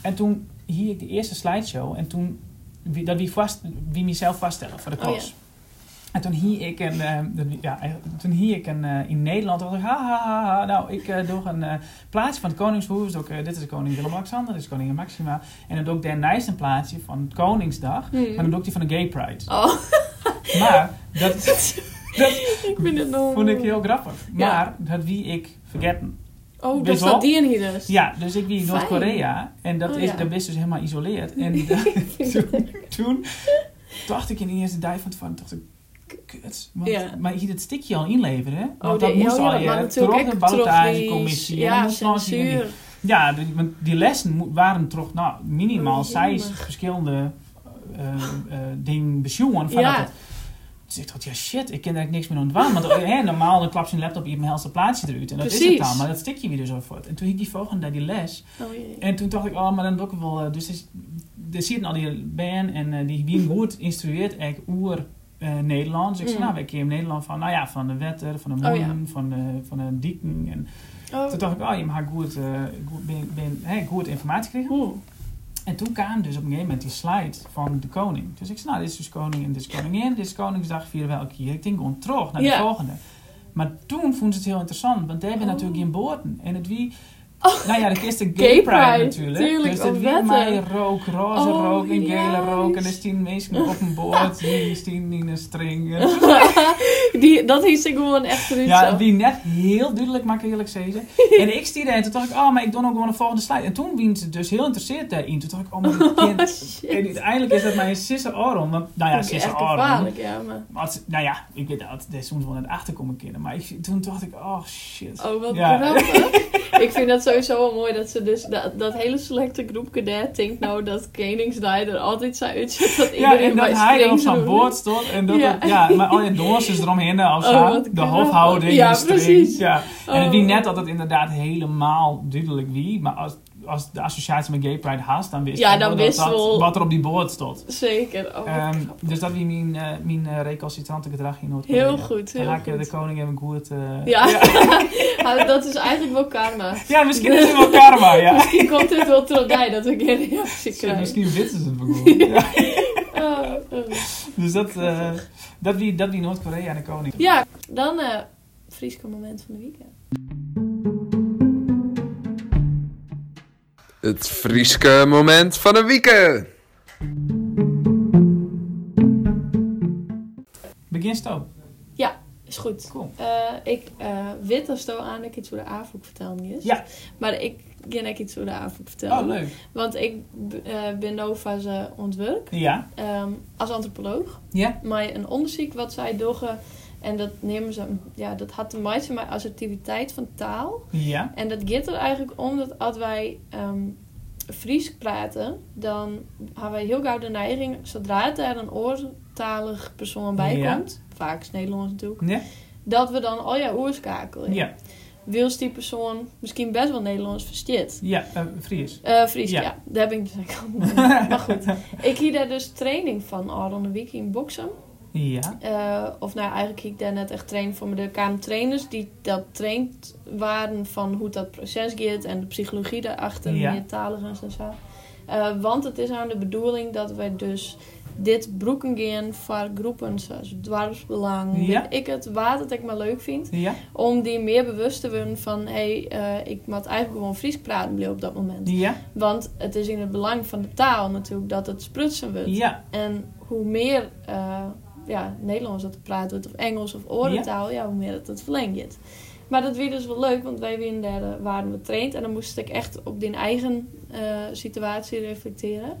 B: En toen hier ik de eerste slideshow. En toen wie, dat wie, vast, wie mezelf vaststellen voor de
A: Oh, ja.
B: klas. En toen hier ik een, eh, dat- ja, eigenlijk- toen hier ik een eh, in Nederland, dacht ik, ha, ha, ha, ha. nou, ik eh doe een eh, plaatje van het Koningshoes, ook, eh, dit is koning Willem-Alexander, dit is koningin Maxima, en dan doe ik daarnaast een plaatje van Koningsdag,
A: Hmm.
B: en dan doe ik die van de Gay Pride.
A: Oh, <laughs>
B: Maar, dat
A: ik vind het nog...
B: vond ik heel grappig,
A: Ja.
B: maar dat wie ik vergeten.
A: Oh, dat
B: Wist
A: staat
B: wel?
A: die in hier dus.
B: Ja, dus ik wie in
A: Fijn.
B: Noord-Korea, en dat
A: Oh,
B: is,
A: ja.
B: dat is dus helemaal
A: <laughs>
B: geïsoleerd. En <laughs> toen, toen dacht ik in de eerste dive van tevoren, dacht ik, kut. Want,
A: Ja.
B: Maar hier dat stikje al inleveren, hè? Want dat
A: die-
B: moest
A: oh,
B: al
A: ja,
B: je
A: maar natuurlijk
B: trok de
A: ook
B: ballotagecommissie.
A: trofees.
B: en dat
A: Ja,
B: moest nog eens hier niet.
A: censuur.
B: Ja, die, want die lessen mo- waren toch nou, minimaal
A: Oh,
B: zes
A: jemig.
B: verschillende eh eh, dingen besjoen. Van
A: Ja.
B: dat het, dus ik dacht, ja shit, ik ken daar niks meer aan het waan. Want oh, hè, normaal dan klap je een laptop in mijn helste plaatsje eruit. En dat is
A: Precies.
B: het dan, maar dat stikje weer dus al voort. En toen ik die volgende naar die les,
A: Oh, jee.
B: en toen dacht ik, oh, maar dan doe ik wel. eh, Dus is- er zitten al die band en eh, die wie goed instrueert eigenlijk oer eh, Nederlands. Ik zei,
A: Mm.
B: nou, wij keer in Nederland van, nou ja, van de wetter, van de
A: Oh,
B: monden,
A: ja.
B: van, de, van de dieken. En,
A: Oh.
B: Toen dacht ik, oh, je mag goed, eh, goed, ben, ben, hè, goed informatie krijgen.
A: Hm.
B: En toen kwam dus op een gegeven moment die slide van de koning. Dus ik zei, nou, dit is dus koning en dit is koningin. Dit is Koningsdag, vieren we elke keer. Ik denk gewoon terug naar de
A: Ja.
B: volgende. Maar toen vond ze het heel interessant, want daar hebben
A: Oh.
B: natuurlijk geen boorden. En het wie...
A: Oh.
B: Nou ja, dat is de gay,
A: Gay
B: pride,
A: pride,
B: natuurlijk.
A: tuurlijk,
B: dus dat
A: oh,
B: wie
A: wetten.
B: mij rook, roze
A: Oh,
B: rook en gele
A: juist.
B: rook. En er staan mensen op een
A: <laughs>
B: boord. Hier is tien in een string.
A: die, dat is ik gewoon echt eruit
B: Ja,
A: zo.
B: wie net heel duidelijk, mag ik eerlijk zeggen. En ik stierde en toen dacht ik, oh, maar ik doe nog gewoon een volgende slide. En toen wien ze dus heel interesseerd daarin. Toen dacht ik, oh, maar
A: <laughs> <laughs>
B: ik
A: Oh,
B: ken-
A: shit.
B: En uiteindelijk is dat mijn sisse Aron. Want, nou ja,
A: Dat is
B: sisse
A: echt
B: Aron.
A: gevaarlijk, ja, maar...
B: Wat, ze- nou ja, ik weet dat. Dat is soms wel net achterkomen kinderen. Maar ik, toen dacht ik, oh shit.
A: Oh, wat
B: Ja.
A: grappig.
B: <laughs>
A: ik vind dat sowieso wel mooi dat ze dus... Dat, dat hele selecte groepje daar denkt nou dat Koningsdag er altijd zou uitzet. Dat
B: Ja,
A: iedereen
B: en dat
A: bij
B: hij er op
A: strings
B: zijn
A: doet. <laughs>
B: boord stond. En dat
A: Ja.
B: het- ja. maar al die doorsjes eromheen of
A: Oh,
B: zo.
A: wat
B: de
A: grappig.
B: hofhouding.
A: Ja,
B: de strings,
A: precies.
B: Ja. En het
A: Oh.
B: wie net dat het inderdaad helemaal duidelijk wie. Maar als, als de associatie met Gay Pride haast, dan wist
A: Ja,
B: ik wel
A: dan
B: dat
A: wist
B: dat-
A: wel-
B: wat er op die boord stond.
A: Zeker. Oh, wat
B: Ehm,
A: grappig.
B: dus dat wie mijn, eh, mijn eh, recalcitrante gedrag in noord
A: Heel goed, heel
B: Dan ga ik eh,
A: goed.
B: de koning even goed... eh,
A: Ja, <laughs> Ah, dat is eigenlijk wel karma.
B: Ja, misschien
A: <laughs>
B: is het wel karma, ja.
A: Misschien komt dit wel terug bij dat ik een reactie
B: Shit,
A: krijg.
B: misschien wisten ze het wel goed.
A: <laughs>
B: Ja.
A: Oh, oh.
B: Dus dat, eh dat die, dat die Noord-Korea de koning.
A: Ja, dan eh Frieske moment van de weekend.
D: Het Frieske moment van de weekend.
B: Begin stop.
A: Is goed.
B: Cool.
A: Eh, ik eh wit als zo aan dat ik iets over de AVOEK vertel niet.
B: Ja.
A: Maar ik ga ik iets over de AVOEK vertellen.
B: Oh, leuk.
A: Want ik eh, ben Nova's eh ontwerp
B: Ja.
A: ehm, als antropoloog.
B: Ja.
A: Maar een onderzoek wat zij doggen. En dat nemen ze, ja, dat had de meisje maar assertiviteit van taal.
B: Ja.
A: En dat gaat er eigenlijk om dat als wij ehm Fries praten, dan hebben wij heel gauw de neiging, zodra het daar een oortalig persoon bij
B: Ja.
A: komt, vaak is het Nederlands natuurlijk,
B: Ja.
A: dat we dan al ja oorskakelen.
B: Ja.
A: Wils die persoon misschien best wel Nederlands versteert.
B: Ja. eh, Fries.
A: Eh Fries,
B: Ja.
A: ja. Daar ben ik dus eigenlijk
B: <laughs>
A: al niet. Maar goed, ik hier daar dus training van al de week in boksen.
B: Ja.
A: Eh, of nou, eigenlijk ging ik daar net echt trainen voor de KM-trainers die dat traind waren van hoe dat proces gaat en de psychologie daarachter,
B: Ja.
A: meertalig en zo. Eh, want het is aan de bedoeling dat wij dus dit broeken gaan voor groepen zoals dwarsbelang,
B: Ja.
A: weet ik het, waar dat ik maar leuk vind.
B: Ja.
A: Om die meer bewust te worden van, hé, eh, ik moet eigenlijk gewoon Fries praten blijven op dat moment.
B: Ja.
A: Want het is in het belang van de taal natuurlijk dat het sprutsen wordt.
B: Ja.
A: En hoe meer eh, ja, Nederlands dat gepraat wordt, of Engels of orentaal, ja. hoe meer dat het verlengt. Maar dat weer dus wel leuk, want wij weer daar eh, waren we traind. En dan moest ik echt op die eigen eh, situatie reflecteren.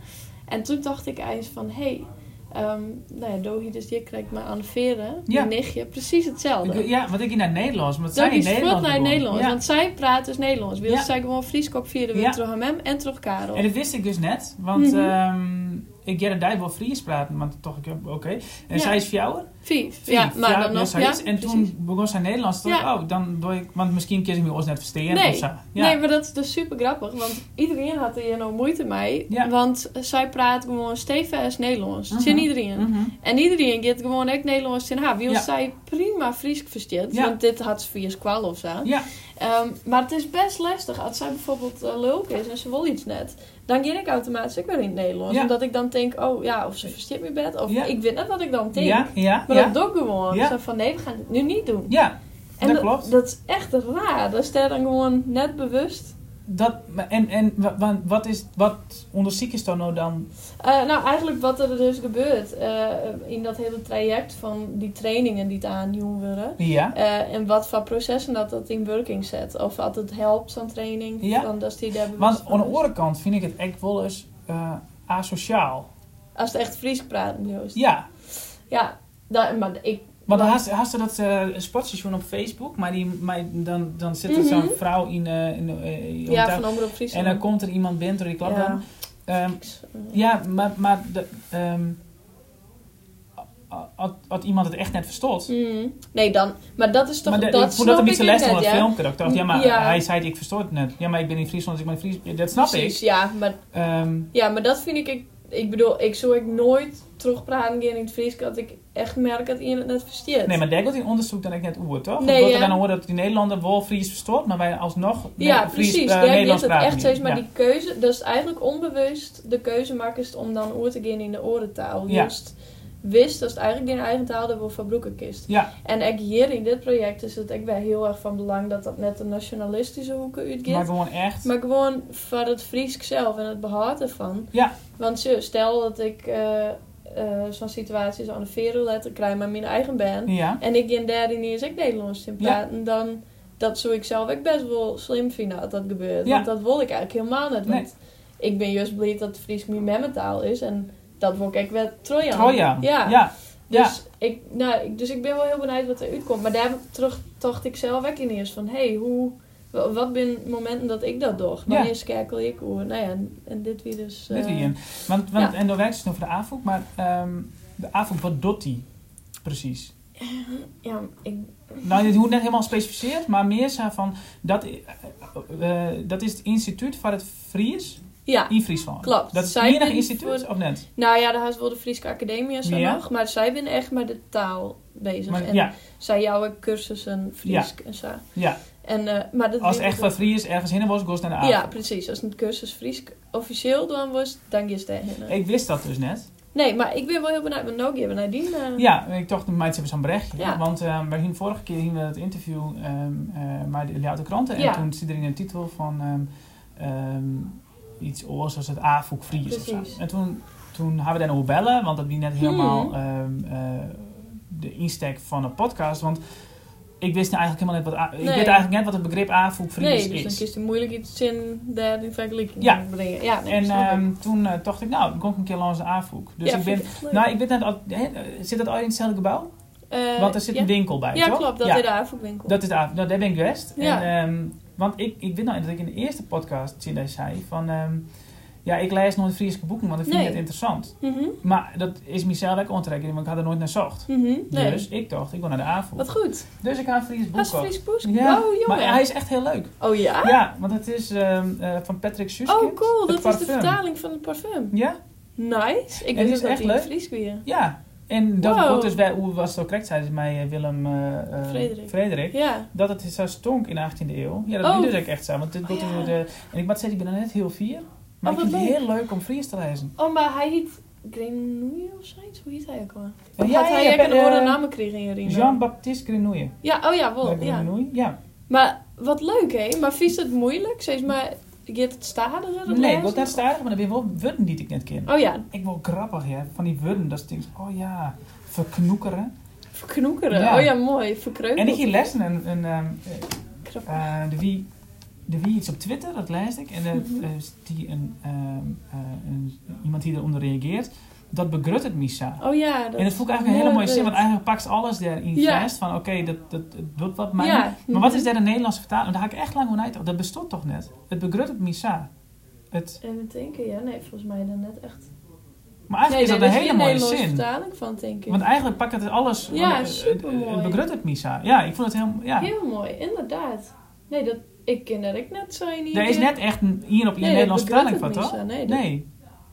A: En toen dacht ik eens van, hé, hey, ehm, nou ja, Dohi dus die krijgt me aan veren,
B: Ja.
A: mijn nichtje, precies hetzelfde.
B: Ik- Ja, want ik ging naar het Nederlands. Maar het
A: Dat
B: zijn
A: is vlot
B: Nederlands.
A: naar het
B: begonnen.
A: Nederlands,
B: Ja.
A: want zij praat dus Nederlands. Wil
B: Ja.
A: zij gewoon Fries kopvieren, weer
B: Ja.
A: terug aan hem en terug Karel.
B: En dat wist ik dus net, want
A: Mhm.
B: ehm, ik jij daar wel Fries praten, maar toch, ik heb- oké. En
A: Ja.
B: zij is vrouwen.
A: Vief,
B: Vier,
A: ja, maar
B: vrouw,
A: dan
B: ja,
A: nog,
B: zij
A: ja,
B: is. En
A: precies.
B: toen begon zij Nederlands. Toen
A: Ja.
B: dacht ik, oh, dan doe ik, want misschien kies ik me ons net verstehen
A: Nee.
B: of zo. Ja.
A: Nee, maar dat is dus super grappig, want iedereen had hier nou moeite mee.
B: Ja.
A: Want zij praat gewoon stevig als Nederlands. Dat zin
B: Mhm.
A: iedereen.
B: Mhm.
A: En iedereen gaat gewoon echt Nederlands in haar. Wie
B: Ja.
A: zij prima Fries versteert,
B: Ja.
A: want dit had ze via squal of zo.
B: Ja.
A: Ehm, maar het is best lastig als zij bijvoorbeeld eh, leuk is en ze wil iets net. Dan ga ik automatisch ook weer in het Nederlands.
B: Ja.
A: Omdat ik dan denk, oh ja, of ze versteert me bed, of
B: Ja.
A: ik weet net wat ik dan denk.
B: Ja, ja,
A: Maar
B: ja.
A: dat doe ik gewoon.
B: Ja.
A: Zo van, nee, we gaan het nu niet doen.
B: Ja,
A: En
B: dat klopt.
A: Dat is echt raar. Dat is daar dan gewoon net bewust.
B: Dat, maar en en wa- wa- wat, is, wat onderzoek is dan nou dan?
A: Eh, nou, eigenlijk wat er dus gebeurt eh, in dat hele traject van die trainingen die het aanjoen worden.
B: Ja,
A: eh, en wat voor processen dat dat in werking zet. Of dat het helpt, zo'n training.
B: Ja.
A: Dan dat die daar bewust
B: want
A: van
B: aan de
A: is.
B: andere kant vind ik het echt wel eens eh, asociaal.
A: Als het echt Fries praat, Joost.
B: Ja,
A: Ja, daar- maar ik...
B: want dan had, had ze dat eh, sportstation op Facebook, maar, die, maar dan, dan zit er
A: Mhm.
B: zo'n vrouw in, eh, in, eh, in
A: ja,
B: daar-
A: van Omroep Fries.
B: en dan komt er iemand binnen door die klap
A: Ja.
B: dan. Ehm, ja, maar, maar de, ehm, a- a- had iemand het echt net verstopt.
A: Mm. Nee, dan... Maar dat is toch...
B: maar de-
A: dat
B: ik vond dat
A: snap
B: een beetje
A: ik
B: les van
A: net,
B: het
A: ja.
B: filmpje. Dat ik dacht, ja, maar
A: Ja.
B: hij zei het, ik verstoor het net. Ja, maar ik ben in Friesland, dus ik ben in Friesland. Ja, dat snap
A: Precies,
B: ik.
A: ja. Maar
B: Ehm,
A: Ja, maar dat vind ik Ik bedoel, ik zou ik nooit terugpraten gaan in het Fries, dat ik echt merk dat iemand het versteert.
B: Nee, maar daar gaat in onderzoek dan ik net oer, toch?
A: Nee,
B: Nee, wordt
A: ja.
B: er dan horen dat die Nederlander wel Fries verstoort, maar wij alsnog
A: ja,
B: ne- Fries,
A: precies.
B: eh,
A: daar ligt
B: Nederlands
A: het
B: praten
A: echt steeds
B: niet.
A: maar
B: Ja.
A: die keuze. Dat is eigenlijk onbewust de keuze maakt om dan oer te gaan in de orentaal.
B: Ja.
A: Just wist dat is eigenlijk geen eigen taal dat we van Broeken kist.
B: Ja.
A: En ook hier in dit project is het ook wel heel erg van belang dat dat net de nationalistische hoeken uitgaat.
B: maar gewoon echt.
A: Maar gewoon van het Friesk zelf en het behoud ervan.
B: Ja.
A: Want zo, stel dat ik eh, eh, zo'n situatie zo'n veren letter krijg, maar mijn eigen ben.
B: ja.
A: En ik in derde niet eens ik Nederlands in
B: Ja.
A: praten. Dan dat zou ik zelf ook best wel slim vinden dat dat gebeurt.
B: Ja.
A: Want dat wil ik eigenlijk helemaal niet. Want ik ben juist blij dat Fries mijn memmentaal is. En dat wil ik ook wel Trojan.
B: Troja.
A: Ja.
B: Ja. Ja.
A: Dus, Ik, nou, ik- dus ik ben wel heel benieuwd wat er uitkomt. Maar daar terug dacht ik zelf ook in eerst van... Hé, hey, hoe... wa- Wat zijn momenten dat ik dat doe? Wanneer
B: Ja.
A: skerkel ik? Hoe, nou ja, en, en dit weer dus... eh,
B: Dit weer in. Want, want
A: ja.
B: en dan werkt het nog voor de AFOK, maar ehm, de AFOK, wat doet die precies?
A: Ja, ik,
B: Nou, je hoeft net helemaal specificeerd, maar meer zijn van dat, eh, eh, eh, dat is het instituut van het Fries
A: ja.
B: in Friesland.
A: Klopt.
B: Dat is
A: Zij
B: het enige
A: zijn
B: instituut,
A: voor-
B: of net?
A: Nou ja, daar is wel de Friese Academie en zo
B: Ja.
A: nog. Maar zij zijn echt met de taal bezig.
B: Maar,
A: en
B: ja,
A: zij jouwen cursussen Fries en zo.
B: ja.
A: En, eh, maar dat
B: Als het
A: weer-
B: echt van Fries ergens heen was, goes naar de AFOK.
A: Ja, precies. Als een cursus Fries officieel dan was, dan is het daarheen.
B: Ik wist dat dus net.
A: Nee, maar ik ben wel heel benieuwd wat Nogi hebben nadien. eh,
B: Ja, ik dacht, de meid hebben zo'n berichtje.
A: Ja.
B: Want ehm we gingen vorige keer gingen we dat interview ehm eh maar de Leeuwarden Kranten.
A: Ja.
B: En toen zit er in een titel van ehm, ehm, iets oors als het AFOEK Fries of zo.
A: Precies. Hmm.
B: En toen, toen hebben we daar nog bellen, want dat wie net helemaal ehm, eh, de insteek van een podcast. Want ik wist nou eigenlijk helemaal niet wat... A-
A: Nee.
B: Ik weet eigenlijk net wat het begrip AFOEK Fries
A: Nee,
B: is.
A: dus dan kiest hij moeilijk iets in daar in vergelijking
B: Ja.
A: brengen. Ja, nee,
B: En
A: snap ik.
B: ehm, toen eh, dacht ik, nou, dan kom ik een keer langs de AFOEK. Dus
A: Ja,
B: ik
A: vind
B: ben...
A: echt leuk.
B: Nou, ik weet net, al- hè, zit dat al in hetzelfde gebouw?
A: Eh,
B: Want er zit
A: ja.
B: een winkel bij,
A: Ja,
B: toch?
A: klopt. Dat
B: Ja.
A: is de AFOK-winkel.
B: Dat is de avond. Nou, daar ben ik best.
A: Ja.
B: En, ehm, want ik, ik weet nou dat ik in de eerste podcast Cindy zei van... ehm, ja, ik lees nooit Friese boeken, want ik vind
A: Nee.
B: het interessant.
A: Mhm,
B: Maar dat is mezelf ook onttrekken, want ik had er nooit naar zocht.
A: mhm, nee.
B: Dus ik dacht, ik wil naar de avond.
A: Wat goed.
B: Dus ik ga een Fries boek
A: Als
B: kopen.
A: Fries Poes.
B: Ja,
A: Oh, jongen.
B: maar hij is echt heel leuk.
A: Oh ja?
B: Ja, want het is ehm, eh, van Patrick Suskind.
A: Oh, cool.
B: Het
A: Dat is de
B: parfum.
A: vertaling van het parfum.
B: Ja,
A: Nice. Ik wist
B: En
A: ook
B: die is
A: dat
B: echt
A: die
B: leuk.
A: in Fries weer.
B: ja. En dat
A: Wow.
B: wordt dus bij, hoe was het ook correct, zei ze mij, eh, Willem eh, eh,
A: Frederik.
B: Frederik.
A: Ja.
B: dat het zo stonk in de 18e eeuw. Ja, dat
A: Oh.
B: oh. dus ook echt zo. Want dit wordt
A: Oh, ja.
B: door de, en ik moet zeggen, ik ben er net heel vier. Maar
A: Oh,
B: ik
A: wat
B: vind het heel leuk om Fries te lezen.
A: Oh, maar hij heet Grenouille of zoiets? Hoe heet hij ook al?
B: Ja,
A: Had hij
B: ja,
A: ook een
B: eh,
A: horen naam gekregen in Rino?
B: Jean-Baptiste Grenouille.
A: Ja, oh ja, wel. Ja.
B: Grenouille, ja.
A: Maar wat leuk, hè? Maar vies het moeilijk? Zeg maar, je hebt het stadiger het
B: Nee, ik
A: lezen?
B: wil net stadig, maar dan ben je wel woorden die ik net ken.
A: Oh ja,
B: Ik wil grappig, hè. Van die woorden, dat is ding. Oh ja, verknoekeren.
A: verknoekeren.
B: Ja.
A: Oh ja, mooi. Verkreukeld.
B: En ik hier lessen en, en ehm,
A: Krap.
B: eh, de wie... De wie iets op Twitter, dat lees ik. En dat,
A: Mhm.
B: eh, die een, ehm, eh, een- iemand die eronder reageert, dat begrut het misa.
A: Oh ja. Dat
B: En dat vond ik eigenlijk een hele mooie zin, want
A: beeld.
B: eigenlijk pakt ze alles daarin
A: Ja.
B: vast. Van oké, dat, dat, dat doet wat mij.
A: Ja.
B: Maar wat is daar een Nederlandse vertaling? Want Daar ga ik echt lang over uit. Dat bestond toch net? Het begrut op Misa. Het,
A: Even denken, ja. Nee, volgens mij dan net echt.
B: maar eigenlijk
A: nee,
B: is dat
A: daar
B: een hele mooie
A: Nederlandse
B: zin.
A: vertaling van, denk ik.
B: Want eigenlijk pakt het alles.
A: Ja,
B: want, eh,
A: supermooi.
B: Het, het begrut op Misa. Ja, ik vond het heel. Ja.
A: Heel mooi, inderdaad. Nee, dat, ik ken dat ik net zo in
B: Er is net echt een hier op je Nederlandse vertaling van, toch?
A: Nee, dat-
B: Nee.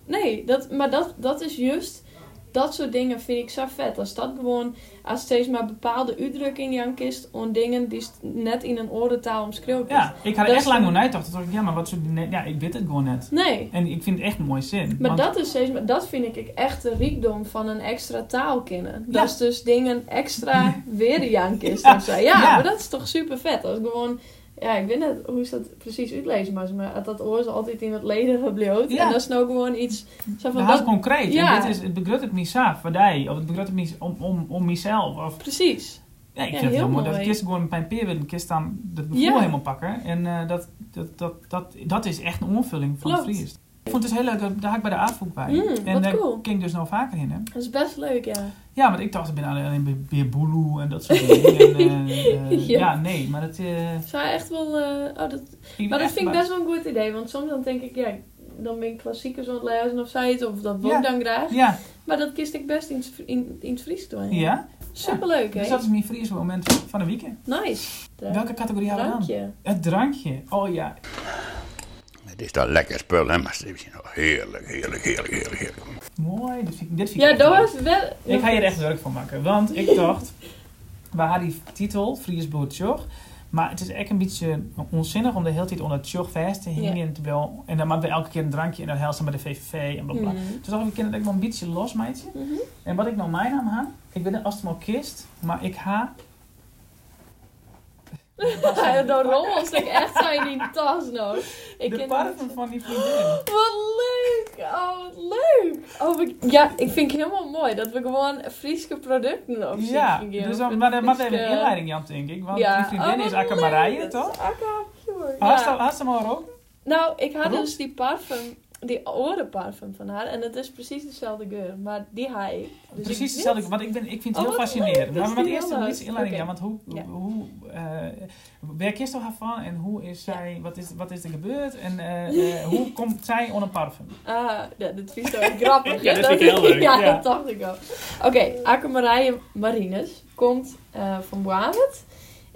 A: nee dat, maar dat, dat is juist... Dat soort dingen vind ik zo vet. Als dat gewoon... Als steeds maar bepaalde uitdrukking Jan kist... om dingen die st- net in een orentaal omschreven is.
B: Ja, ik had
A: Dat
B: er
A: is
B: echt lang
A: een-
B: over uit. Dacht ik, ja, maar wat soort. Nee, ja, ik weet het gewoon net.
A: Nee.
B: En ik vind het echt een mooie zin.
A: Maar
B: want-
A: dat, is steeds, maar dat vind ik echt de riekdom van een extra taal kennen. Dat
B: Ja.
A: is dus dingen
B: <laughs>
A: extra weer de jankist
B: Ja.
A: of zo. Ja,
B: Ja.
A: maar dat is toch super vet. Als ik gewoon, ja, ik weet net hoe is dat precies uitlezen, maar, maar uit dat oor is altijd in het leden gebleven.
B: Ja. Nou,
A: En dat is nou gewoon iets zo van
B: Dat is
A: dat.
B: concreet.
A: Ja.
B: En dit is, het begrut het misaaf, voor die. Of het begrut het mis, om, om, om mezelf. Of,
A: Precies.
B: ja, ik
A: Ja,
B: vind het
A: heel
B: heel mooi.
A: mooi.
B: Dat ik eerst gewoon met mijn peer wil. Ik eerst dan dat gevoel
A: Ja.
B: helemaal pakken. En eh, dat, dat, dat, dat, dat is echt een onvulling van
A: Klopt.
B: het Fries. Ik vond het dus heel leuk. dat- Daar haak ik bij de avond bij.
A: Mm,
B: en
A: wat
B: daar
A: cool.
B: ging ik dus nou vaker in. Hè?
A: Dat is best leuk, ja.
B: Ja, want ik dacht, ik ben alleen, alleen bij bij Boeloe en dat soort dingen. en,
A: <laughs>
B: eh, eh,
A: Ja.
B: ja, nee. Maar dat... eh, ik
A: Zou echt wel, eh, oh, dat,
B: ben
A: maar dat vind ik
B: echt verbaasd.
A: best wel een goed idee, want soms dan denk ik, ja, dan ben ik klassiekers aan het lezen of zoiets, of dat wil ik
B: Ja.
A: dan graag.
B: Ja,
A: Maar dat kiest ik best in, het Fri- in, in het Fries doen.
B: ja.
A: Superleuk, hè?
B: Dus dat is mijn Friese moment van de weekend.
A: Nice.
B: Welke categorie hadden we dan?
A: Drankje.
B: Het drankje. Oh ja.
E: Het Het is dan lekker spul, hè, maar het is nog heerlijk, heerlijk, heerlijk, heerlijk, heerlijk.
B: Mooi, dit vind ik, dit vind ik
A: Ja,
B: echt
A: dat
B: leuk.
A: was wel...
B: Ik ga hier echt werk van maken. Want
A: <laughs>
B: ik dacht, we hadden die titel, Fries Boer Tjog. Maar het is echt een beetje onzinnig om de hele tijd onder Tjog vast te hingen.
A: Ja.
B: En, te bel, en dan maar bij elke keer een drankje en dan helst bij de VVV en bla bla.
A: Mhm.
B: Toen dacht ik, ik ken het ook wel een beetje los, meidje.
A: Mhm.
B: En wat ik nou mijn naam ha, ik ben een astmokist, maar ik ha...
A: Ja, dan rommels ik echt zijn die tas nou. Ik
B: de
A: ken-
B: parfum van die vriendin.
A: Wat leuk! Oh, wat leuk! Oh, ik- ja, ik vind het helemaal mooi dat we gewoon Friese producten op zich
B: Ja,
A: gingen.
B: dus
A: Of
B: dan, maar daar maakt
A: Friese-
B: even een inleiding, Jan, denk ik. Want
A: Ja.
B: die vriendin
A: Oh, wat
B: is Akka
A: leuk.
B: Marije,
A: Dat is
B: toch?
A: Akka, sure.
B: Had ze
A: Ja.
B: had ze hem al roken?
A: Nou, ik had
B: Waarom?
A: dus die parfum, die orenparfum van haar. En het is precies dezelfde geur, maar die haal ik. Dus ik
B: Precies
A: weet-
B: hetzelfde, want ik, ben, ik vind het
A: Oh,
B: heel
A: wat
B: fascinerend.
A: leuk,
B: Maar
A: dat
B: we
A: is
B: gaan
A: die
B: eerst een
A: heel leuk.
B: beetje inleiding
A: Oké.
B: aan, want hoe,
A: Ja.
B: hoe eh waar kist haar van en hoe is
A: Ja.
B: zij, wat is, wat is er gebeurd
A: <laughs>
B: en eh, eh, hoe komt zij onder parfum?
A: Ah, ja, dat vind ik zo grappig.
B: Ja, dat vind ik heel
A: <laughs>
B: leuk,
A: ja,
B: ja.
A: dat dacht ik al. Oké, Akke Marije Marines komt eh, van Mohammed.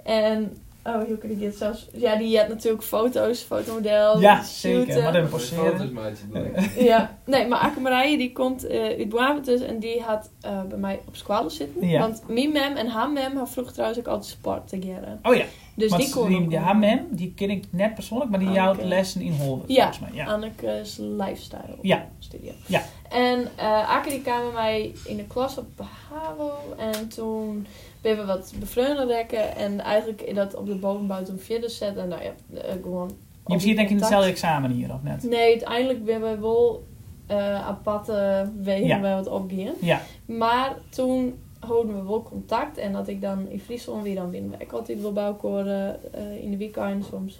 A: En, oh, hoe kan ik dit zelfs... Ja, die had natuurlijk foto's, fotomodel.
B: ja,
A: shooten.
B: zeker. Wat een poseren.
A: <laughs> Ja, nee, maar Akke Marije die komt eh, uit Mohammed dus. En die had eh, bij mij op squallen zitten.
B: Ja.
A: Want mijn mem en haar mem had vroeger trouwens ook altijd sport te geren.
B: Oh ja,
A: Dus
B: want
A: die kon
B: die,
A: ook
B: die
A: wel.
B: HMM, die ken ik net persoonlijk, maar die
A: Ah,
B: jouwt
A: oké.
B: lessen in Holland,
A: Ja.
B: volgens mij. Ja.
A: Anneke's Lifestyle
B: Ja.
A: Studio.
B: Ja.
A: En eh Akke die kwam bij mij in de klas op HAVO. En toen ben we wat bevreugden rekken. En eigenlijk in dat op de bovenbouw toen verder zetten. En nou ja, eh, gewoon...
B: Je hebt hier denk ik in hetzelfde examen hier, of net?
A: Nee, uiteindelijk ben we wel eh aparte wegen
B: Ja.
A: bij wat opgegaan.
B: Ja,
A: Maar toen houden we wel contact. En dat ik dan in Friesland weer dan binnen. Ik altijd wil bij elkaar eh, eh, in de weekend soms.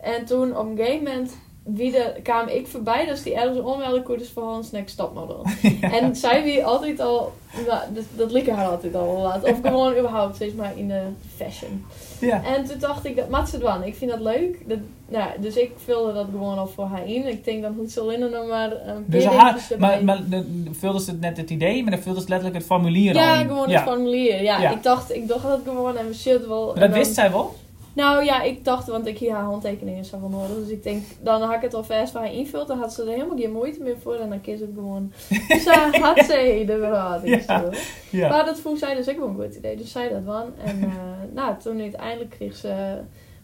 A: En toen op een gegeven moment wie de, kwam ik voorbij. Dus die ergens onmelden koers voor Hans Next
B: <laughs>
A: Stopmodel. En zij wie altijd al... nou, dat, dat liep haar altijd al wel laat. Of gewoon überhaupt steeds maar in de fashion.
B: ja.
A: En toen dacht ik, dat maakt ze het wel. Ik vind dat leuk. Dat, nou, dus ik vulde dat gewoon al voor haar in. Ik denk, dan hoeft ze alleen nog maar een
B: Dus
A: paar
B: haar,
A: dingetjes erbij.
B: maar, maar dan vulden ze het net het idee, maar dan vulden ze letterlijk het formulier al
A: Ja,
B: in.
A: gewoon
B: ja.
A: het formulier. Ja,
B: Ja.
A: Ik, dacht, ik dacht dat gewoon en we shit wel. en
B: Maar Dat
A: dan-
B: wist zij wel?
A: Nou ja, ik dacht, want ik hier haar handtekeningen zou van horen. Dus ik denk, dan had ik het al vast waar hij invult. Dan had ze er helemaal geen moeite meer voor. En dan kies ik
B: <laughs>
A: gewoon. Dus daar had ze de verhouding.
B: Ja.
A: zo.
B: Ja.
A: Maar dat vond zij dus ook wel een goed idee. Dus zij dat dan. En
B: <laughs>
A: eh, nou, toen uiteindelijk kreeg ze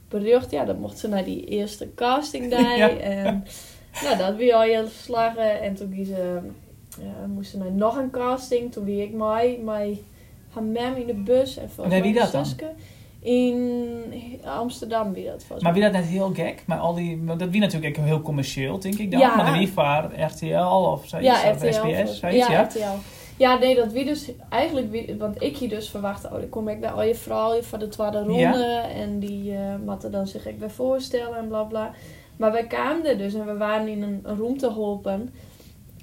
A: bericht. Ja, dat mocht ze naar die eerste
B: <laughs>
A: casting daar.
B: Ja.
A: En nou, dat weer al heel geslagen. En toen ging ze, eh, moest ze naar nog een casting. Toen wie ik mij, mij, haar mem in de bus. En volgens
B: Nee, wie
A: mij
B: dat dan?
A: Suske. In Amsterdam wie dat was.
B: Maar wie dat net heel gek, maar al die, want dat wie natuurlijk ook heel commercieel, denk ik dan.
A: Ja.
B: Maar de Wifaar, RTL of zoiets,
A: Ja,
B: of
A: RTL.
B: SBS,
A: volgens-
B: zoiets, ja.
A: ja, RTL. Ja, nee, dat wie dus eigenlijk, wie- want ik hier dus verwacht, oh, dan kom ik bij al je vrouwen van de tweede ronde en die eh matten dan zich ik bij voorstellen en bla bla. Maar wij kwamen er dus en we waren in een, een room te helpen.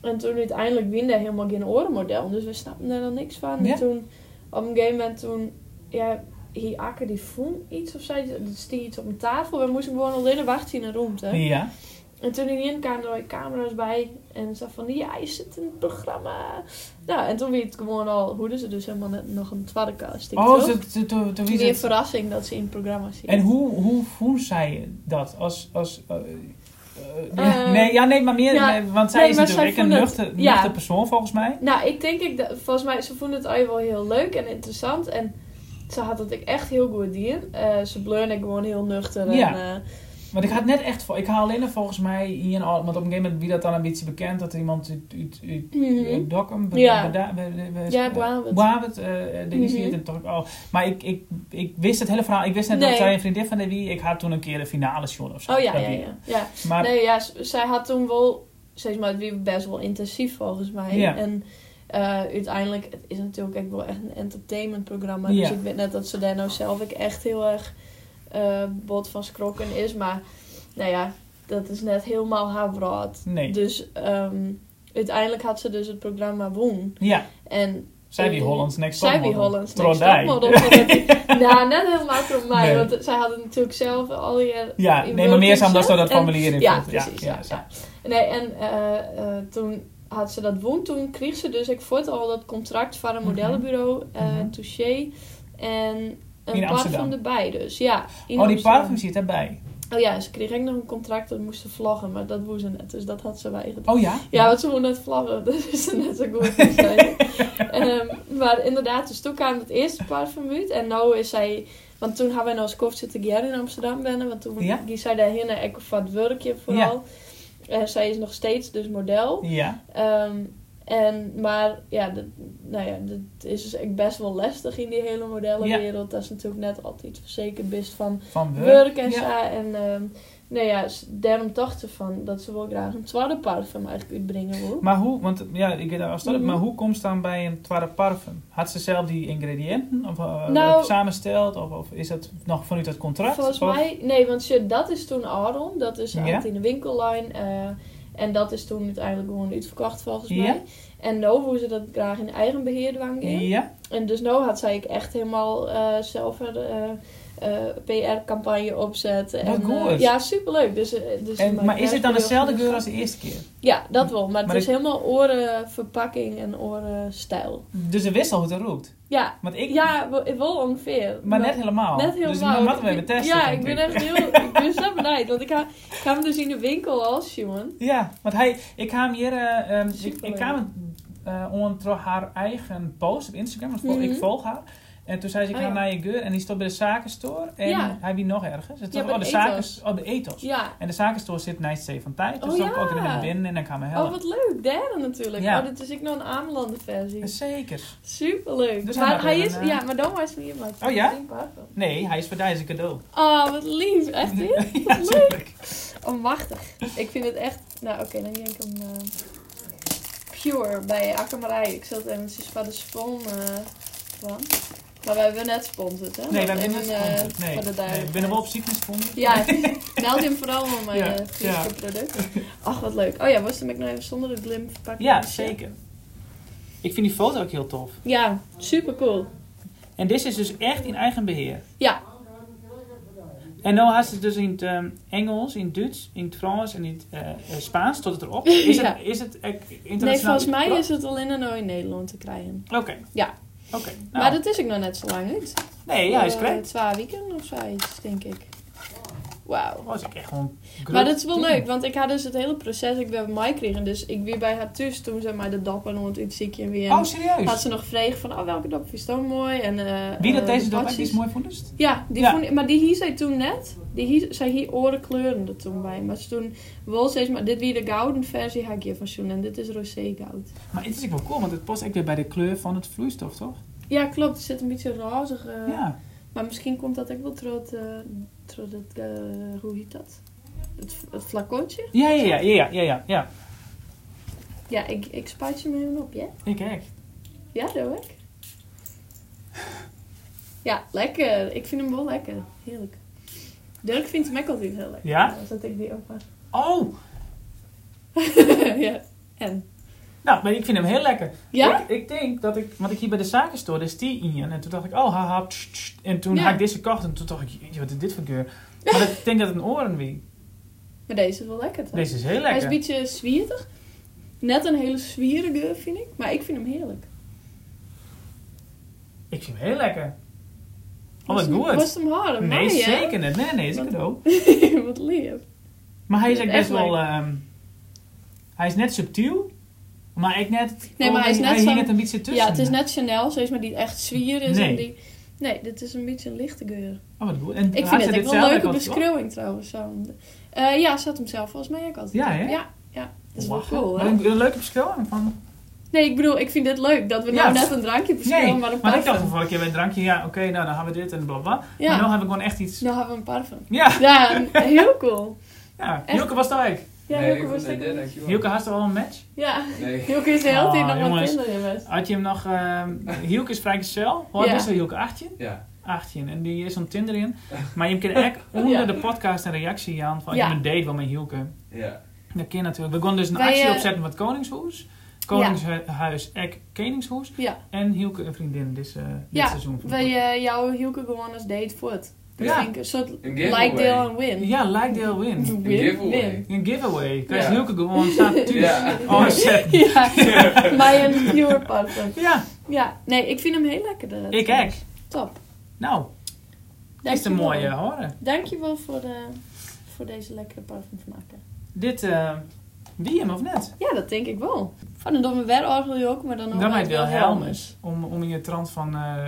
A: En toen uiteindelijk wien daar helemaal geen orenmodel, dus we snapten er dan niks van.
B: Ja.
A: En toen, op een gegeven moment, toen, ja, hier akker die vond iets of zij, dus die iets op een tafel. We moesten gewoon alleen wachten in een roomte.
B: Ja.
A: En toen ik in kwam, er waren camera's bij. En ze van, ja, je zit in het programma. Nou, en toen wie het gewoon al, hoorden ze dus helemaal net nog een tweede casting.
B: Oh,
A: toch?
B: ze, ze, toen- toen wie
A: Meer
B: ze-
A: verrassing dat ze in het programma zit.
B: En hoe, hoe voelt zij dat als, als eh, eh,
A: Eh,
B: <laughs> nee, ja, nee, maar meer,
A: ja,
B: nee, want zij
A: nee,
B: is
A: maar
B: natuurlijk
A: zij
B: een
A: vond het-
B: nuchter,
A: ja.
B: nuchter persoon volgens mij.
A: Nou, ik denk, ik, dat- volgens mij, ze vonden het al wel heel leuk en interessant. En ze had het ook echt heel goed dier. ze bleurde gewoon heel nuchter.
B: Ja.
A: En, eh,
B: Want ik had net echt, voor- ik haal alleen nog volgens mij hier, want op een gegeven moment wie dat dan een beetje bekend, dat er iemand uit, uit, uit
A: Mhm.
B: eh, Dokkum, be-
A: Ja.
B: beda- be- be- be-
A: Ja, Oh, Brabant.
B: Brabant, eh, eh, die is hier
A: Mhm.
B: dan toch ook al. Maar ik, ik, ik wist het hele verhaal, ik wist net dat
A: Nee.
B: zij een vriendin van de wie, ik had toen een keer de finale show of zo.
A: oh ja,
B: Dat
A: ja,
B: wie-
A: ja. ja.
B: Maar
A: Nee, ja, z- zij had toen wel, zeg maar, het weer best wel intensief volgens mij.
B: Ja.
A: En eh, uiteindelijk, het is natuurlijk ook wel echt een entertainmentprogramma.
B: Ja.
A: Dus ik weet net dat ze daar nou zelf ook echt heel erg eh bot van schrokken is. Maar nou ja, dat is net helemaal haar brood.
B: nee.
A: Dus ehm, uiteindelijk had ze dus het programma Woon.
B: ja,
A: En <laughs>
B: zij wie Hollands Next
A: zij
B: Topmodel.
A: wie Hollands Next
B: Trondheim.
A: Topmodel.
B: <laughs>
A: zodat ik- Nou, net helemaal voor mij.
B: Nee.
A: Want zij hadden natuurlijk zelf al je...
B: Ja,
A: in
B: nee, maar meer
A: working
B: samen dat ze dat
A: set. En-
B: formulier in
A: ja,
B: vult.
A: precies. Ja,
B: zo.
A: ja. Nee, en eh, eh, toen had ze dat woon. Toen kreeg ze dus, ik voort al dat contract van een
B: Mhm.
A: modellenbureau, eh
B: Mhm.
A: Touché. En een
B: In Amsterdam.
A: parfum erbij dus, ja. in
B: Oh, die
A: Amsterdam.
B: parfum zit erbij.
A: Oh ja, ze kreeg ook nog een contract dat moest ze vloggen, maar dat woe ze net. Dus dat had ze wel eigenlijk.
B: Oh ja?
A: Ja, want ze moet net vlaggen. <laughs> Dat is net zo goed. te
B: <laughs>
A: zijn. Ehm, maar inderdaad, dus toen kwam het eerste parfum uit. En nu is zij... Want toen hebben wij nog eens zitten jaar in Amsterdam binnen. Want toen
B: Ja.
A: ging zij daarheen en ik van het werkje vooral. En zij is nog steeds dus model.
B: Ja.
A: Ehm, en, maar ja, dat, nou ja, dat is dus echt best wel lastig in die hele modellenwereld. Dat is natuurlijk net altijd verzekerd best van
B: Van Wurk.
A: werk en
B: ja.
A: zo. En ehm, nou ja, s- daarom dacht ze van dat ze wel graag een tweede parfum eigenlijk uitbrengen wil.
B: Maar hoe, want ja, ik weet dat als dat,
A: Mhm.
B: maar hoe komt ze dan bij een tweede parfum? Had ze zelf die ingrediënten of, eh,
A: Nou-
B: samensteld? Of, of is dat nog vanuit dat contract?
A: Volgens
B: Of-
A: mij, nee, want shit, dat is toen Aron, dat is
B: Ja.
A: altijd in de winkellijn. eh, en dat is toen uiteindelijk gewoon uitverkocht volgens
B: Ja.
A: mij. En nou hoe ze dat graag in eigen beheer dwang in.
B: Ja,
A: En dus nou had zij ik echt helemaal eh, zelf een PR-campagne opzetten.
B: Wat
A: en,
B: goed.
A: eh, ja, superleuk. Dus, eh, dus
B: en, maar is het dan
A: heel
B: dezelfde
A: goed.
B: geur als de eerste keer?
A: Ja, dat wel. Maar het
B: Maar
A: is
B: ik-
A: helemaal orenverpakking en orenstijl.
B: Dus de wissel hoe het roept.
A: Ja,
B: Want ik,
A: ja, wel- wel ongeveer.
B: maar net helemaal.
A: Net helemaal.
B: Dus dan moeten we
A: Ik-
B: even testen.
A: Ja,
B: denk
A: ik ben echt heel...
B: <laughs>
A: ik ben zo benijd. Want ik ga, ik ga hem dus in de winkel als, jongen.
B: Ja, want hij, ik ga hem hier, eh, ehm, ik, ik
A: Superleuk.
B: kwam eh, onder door haar eigen post op Instagram, want vol-
A: Mhm.
B: ik volg haar. En toen zei ze, ik
A: Oh,
B: ga
A: ja.
B: naar je geur en die stond bij de zakenstore. En
A: Ja.
B: hij wie nog ergens. Het
A: Ja,
B: was-
A: bij
B: oh, de
A: de
B: zakens, oh, de ethos.
A: Ja.
B: En de zakenstore zit naast Zee van Tijd. Dus
A: Oh,
B: dan kan ik
A: ja.
B: er naar binnen en dan kan me
A: Oh,
B: helpen.
A: wat leuk. Derde natuurlijk.
B: Ja.
A: Oh, dit is ik nog een aanlanden versie.
B: Zeker.
A: Superleuk.
B: Dus
A: maar
B: hij
A: hij
B: maakt
A: is...
B: een, eh,
A: Ja, maar dan was hij niet wat.
B: Oh, ja?
A: Ik denk parfum.
B: Nee, hij is voor Dijs een cadeau.
A: Oh, wat lief. Echt dit?
B: <laughs> ja, tuurlijk.
A: Oh, machtig. Ik vind het echt... Nou, oké, dan denk ik hem... eh, Pure bij Akkemarij. Ik zat eventjes van de spon eh, van. Maar wij hebben net sponsord, hè?
B: Oh, Nee, wij
A: Want
B: hebben niet
A: even, eh,
B: gesponsord. Nee,
A: voor de
B: nee, ik
A: duidelijkheid.
B: ben er wel op ziektes gevonden.
A: Ja, <laughs> meld hem vooral om mijn
B: Ja,
A: eh, Friese product. Ach, wat leuk. Oh ja, was hem ik nou even zonder de Dus, glimp verpakken?
B: Ja, zeker. Ik vind die foto ook heel tof.
A: eh, Ja, super cool.
B: En dit is dus echt in eigen beheer.
A: Ja.
B: En nu had ze het dus in het ehm, Engels, in het Duits, in het Frans en in het eh, eh, Spaans. Tot het erop. Is
A: Ja.
B: het, is het eh, internationaal?
A: Nee, volgens mij is het alleen en nou in Nederland te krijgen.
B: Oké.
A: Ja.
B: Oké. nou.
A: Maar dat is ook nog net zo lang niet.
B: nee, ja, hij is
A: Eh,
B: correct.
A: Twee weken of zoiets, denk ik. Wauw.
B: Oh, is ik echt gewoon
A: Maar dat is wel leuk, want ik had dus het hele proces, ik ben bij mij kregen. Dus ik weer bij haar thuis toen ze mij de dop en onder het ziekje en weer.
B: Oh,
A: had
B: serieus?
A: ze nog vregen van, oh welke dop is dan mooi. En, eh,
B: Wie
A: eh,
B: dat deze
A: de
B: dop echt
A: badjes.
B: iets mooi vond? is het?
A: Ja, die
B: Ja.
A: Vond, ik- maar die hier zei toen net, die hier, zei hier orenkleuren er toen bij. Maar ze toen wel steeds, maar dit wie de gouden versie had ik hier van Sjoen en dit is rosé goud.
B: Maar het is ook wel cool, want het past echt weer bij de kleur van het vloeistof, toch?
A: Ja, klopt, er zit een beetje rozig. eh,
B: Ja.
A: Maar misschien komt dat ook wel door het, eh, door het eh, hoe heet dat? Het, het flacontje?
B: Ja, ja, ja, ja, ja, ja, ja.
A: Ja, ik, ik spuit je hem helemaal op, ja?
B: Ik echt.
A: Ja, dat doe ik. Ja, lekker. Ik vind hem wel lekker. Heerlijk. Dirk vindt hem ook altijd heel lekker. Nou,
B: Ja?
A: Dan zet ik die ook maar. <laughs>
B: Oh,
A: ja. En?
B: nou, maar ik vind hem heel lekker.
A: Ja?
B: Ik, ik denk dat ik, want ik hier bij de zakenstore, is die in. En toen dacht ik, oh, haha, tss, tss. En toen
A: Ja.
B: had ik deze gekocht en toen dacht ik, jeetje, wat is dit voor geur? Maar dat- ik denk dat het een oren wie.
A: Maar deze is wel lekker toch?
B: Deze is heel
A: Hij is een
B: lekker.
A: beetje zwierig. Net een hele zwierige vind ik. Maar ik vind hem heerlijk.
B: Ik vind hem heel lekker. Oh, wat
A: Was hem-
B: goed.
A: Was hem hard?
B: Nee,
A: Mooi, hè?
B: zeker niet. Nee, nee, is een
A: Wat- <laughs>
B: cadeau.
A: Wat lief.
B: Maar hij is echt
A: Echt
B: best wel,
A: lekker.
B: ehm, hij is net subtiel. Maar ik net,
A: Nee, maar hij is net
B: hing
A: zo'n-
B: het een beetje tussen.
A: Ja, het is net Chanel, zeg maar, die echt zwier is.
B: Nee.
A: En die... Nee, dit is een beetje een lichte geur.
B: Oh, wat goed. En
A: Ik
B: had
A: vind
B: ze
A: het
B: dit
A: ook wel
B: zelf
A: een leuke
B: ook al-
A: beschreeuwing trouwens. Zo. Eh, ja, zat hem zelf volgens mij ook altijd.
B: Ja, hè?
A: Ja, ja. Dat is wel
B: Lachen.
A: cool,
B: Maar
A: hè?
B: Een, een leuke beschouwing van...
A: Nee, ik bedoel, ik vind dit leuk. Dat we
B: Ja.
A: nou net een drankje beschreeuwen,
B: Nee,
A: maar een
B: want ik
A: parfum.
B: dacht de vorige keer bij een drankje, ja, oké, nou, dan gaan we dit en bla bla. Maar
A: ja,
B: nu hebben we gewoon echt iets...
A: nou hebben we een parfum.
B: Ja,
A: Ja, en- heel cool.
B: ja.
A: Echt?
B: Joke was daar ook.
A: <laughs> Ja,
F: nee, ik
A: was
F: vond het
A: lekker.
B: Hielke had er al een match.
A: Ja,
F: Nee.
A: Hilke is de hele tijd
B: Ah,
A: nog wat
B: jongens.
A: Tinder in best.
B: Had je hem nog... ehm Hielke is vrijgezel. Hoe oud
A: Ja.
B: is er Hielke? 18?
F: Ja.
B: 18. En die is aan Tinder in. Maar je kan echt onder
A: <laughs> Ja.
B: de podcast een reactie aan van...
A: Ja.
B: Ik heb een date wel met Hielke.
F: Ja.
B: Dat kan natuurlijk. We gaan dus een
A: Wij,
B: actie
A: eh,
B: opzetten met Koningshoes. Koningshuis, ek Koningshoes.
A: Ja,
B: En Hielke een vriendin dit, eh, dit
A: Ja,
B: seizoen. van de
A: wij eh, jou Hilke gewoon als date voort. Dus
B: Ja.
A: denk ik een soort
F: Een giveaway.
A: like, deel en win.
B: Ja, like, deel, win.
A: <laughs> Win,
F: giveaway.
A: win.
B: Een giveaway. Krijg je
F: Ja.
B: Hielke gewoon staat
A: <laughs>
B: thuis.
F: Ja.
B: Oh, shit. <laughs>
A: Ja, <laughs> bij een pure parfum.
B: Ja,
A: Ja, nee, ik vind hem heel lekker. de-
B: ik ook.
A: Top.
B: Nou, dat is een
A: Dankjewel.
B: mooie horen.
A: Dankjewel voor de voor deze lekkere parfum te maken.
B: Dit, eh die hem of net?
A: Ja, dat denk ik wel. Van dan doen we wel orgeljok, maar dan ook
B: Dan
A: wel
B: met Wilhelmus. Om, om in het trant van, eh,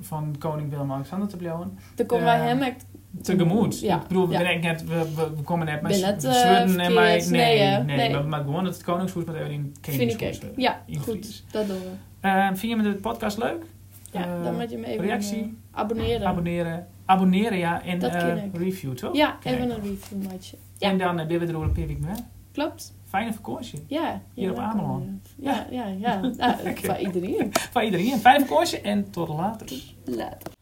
B: van koning Willem-Alexander te blijven.
A: Dan komen
B: Ja.
A: wij hem echt
B: Tegemoet.
A: Ja,
B: Ik bedoel, we,
A: ja.
B: denken net, we, we, we komen net met
A: Ben het, eh,
B: Zweden en maar...
A: verkeerd? Nee,
B: Nee,
A: hè?
B: nee,
A: Nee.
B: Maar, maar gewoon het koningshoes met even in
A: vind ik echt. Ja,
B: eh, in Fries.
A: goed. Dat doen we.
B: Eh, vind je de podcast leuk?
A: Ja,
B: Eh,
A: dan moet je me even
B: reactie?
A: eh, abonneren.
B: Abonneren. Abonneren, ja. En
A: Dat
B: eh,
A: ken ik.
B: review, toch?
A: Ja,
B: Kijk.
A: even een review, maatje. Ja.
B: En dan uh, ben we er door een paar weken mee.
A: Klopt.
B: Fijne vakantie.
A: Ja.
B: Hier op
A: ja,
B: Ameland.
A: kan, eh,
B: <laughs>
A: Ja, ja, ja. Nou,
B: Oké.
A: Voor iedereen.
B: Van iedereen. Fijne vakantie en tot later.
A: Later.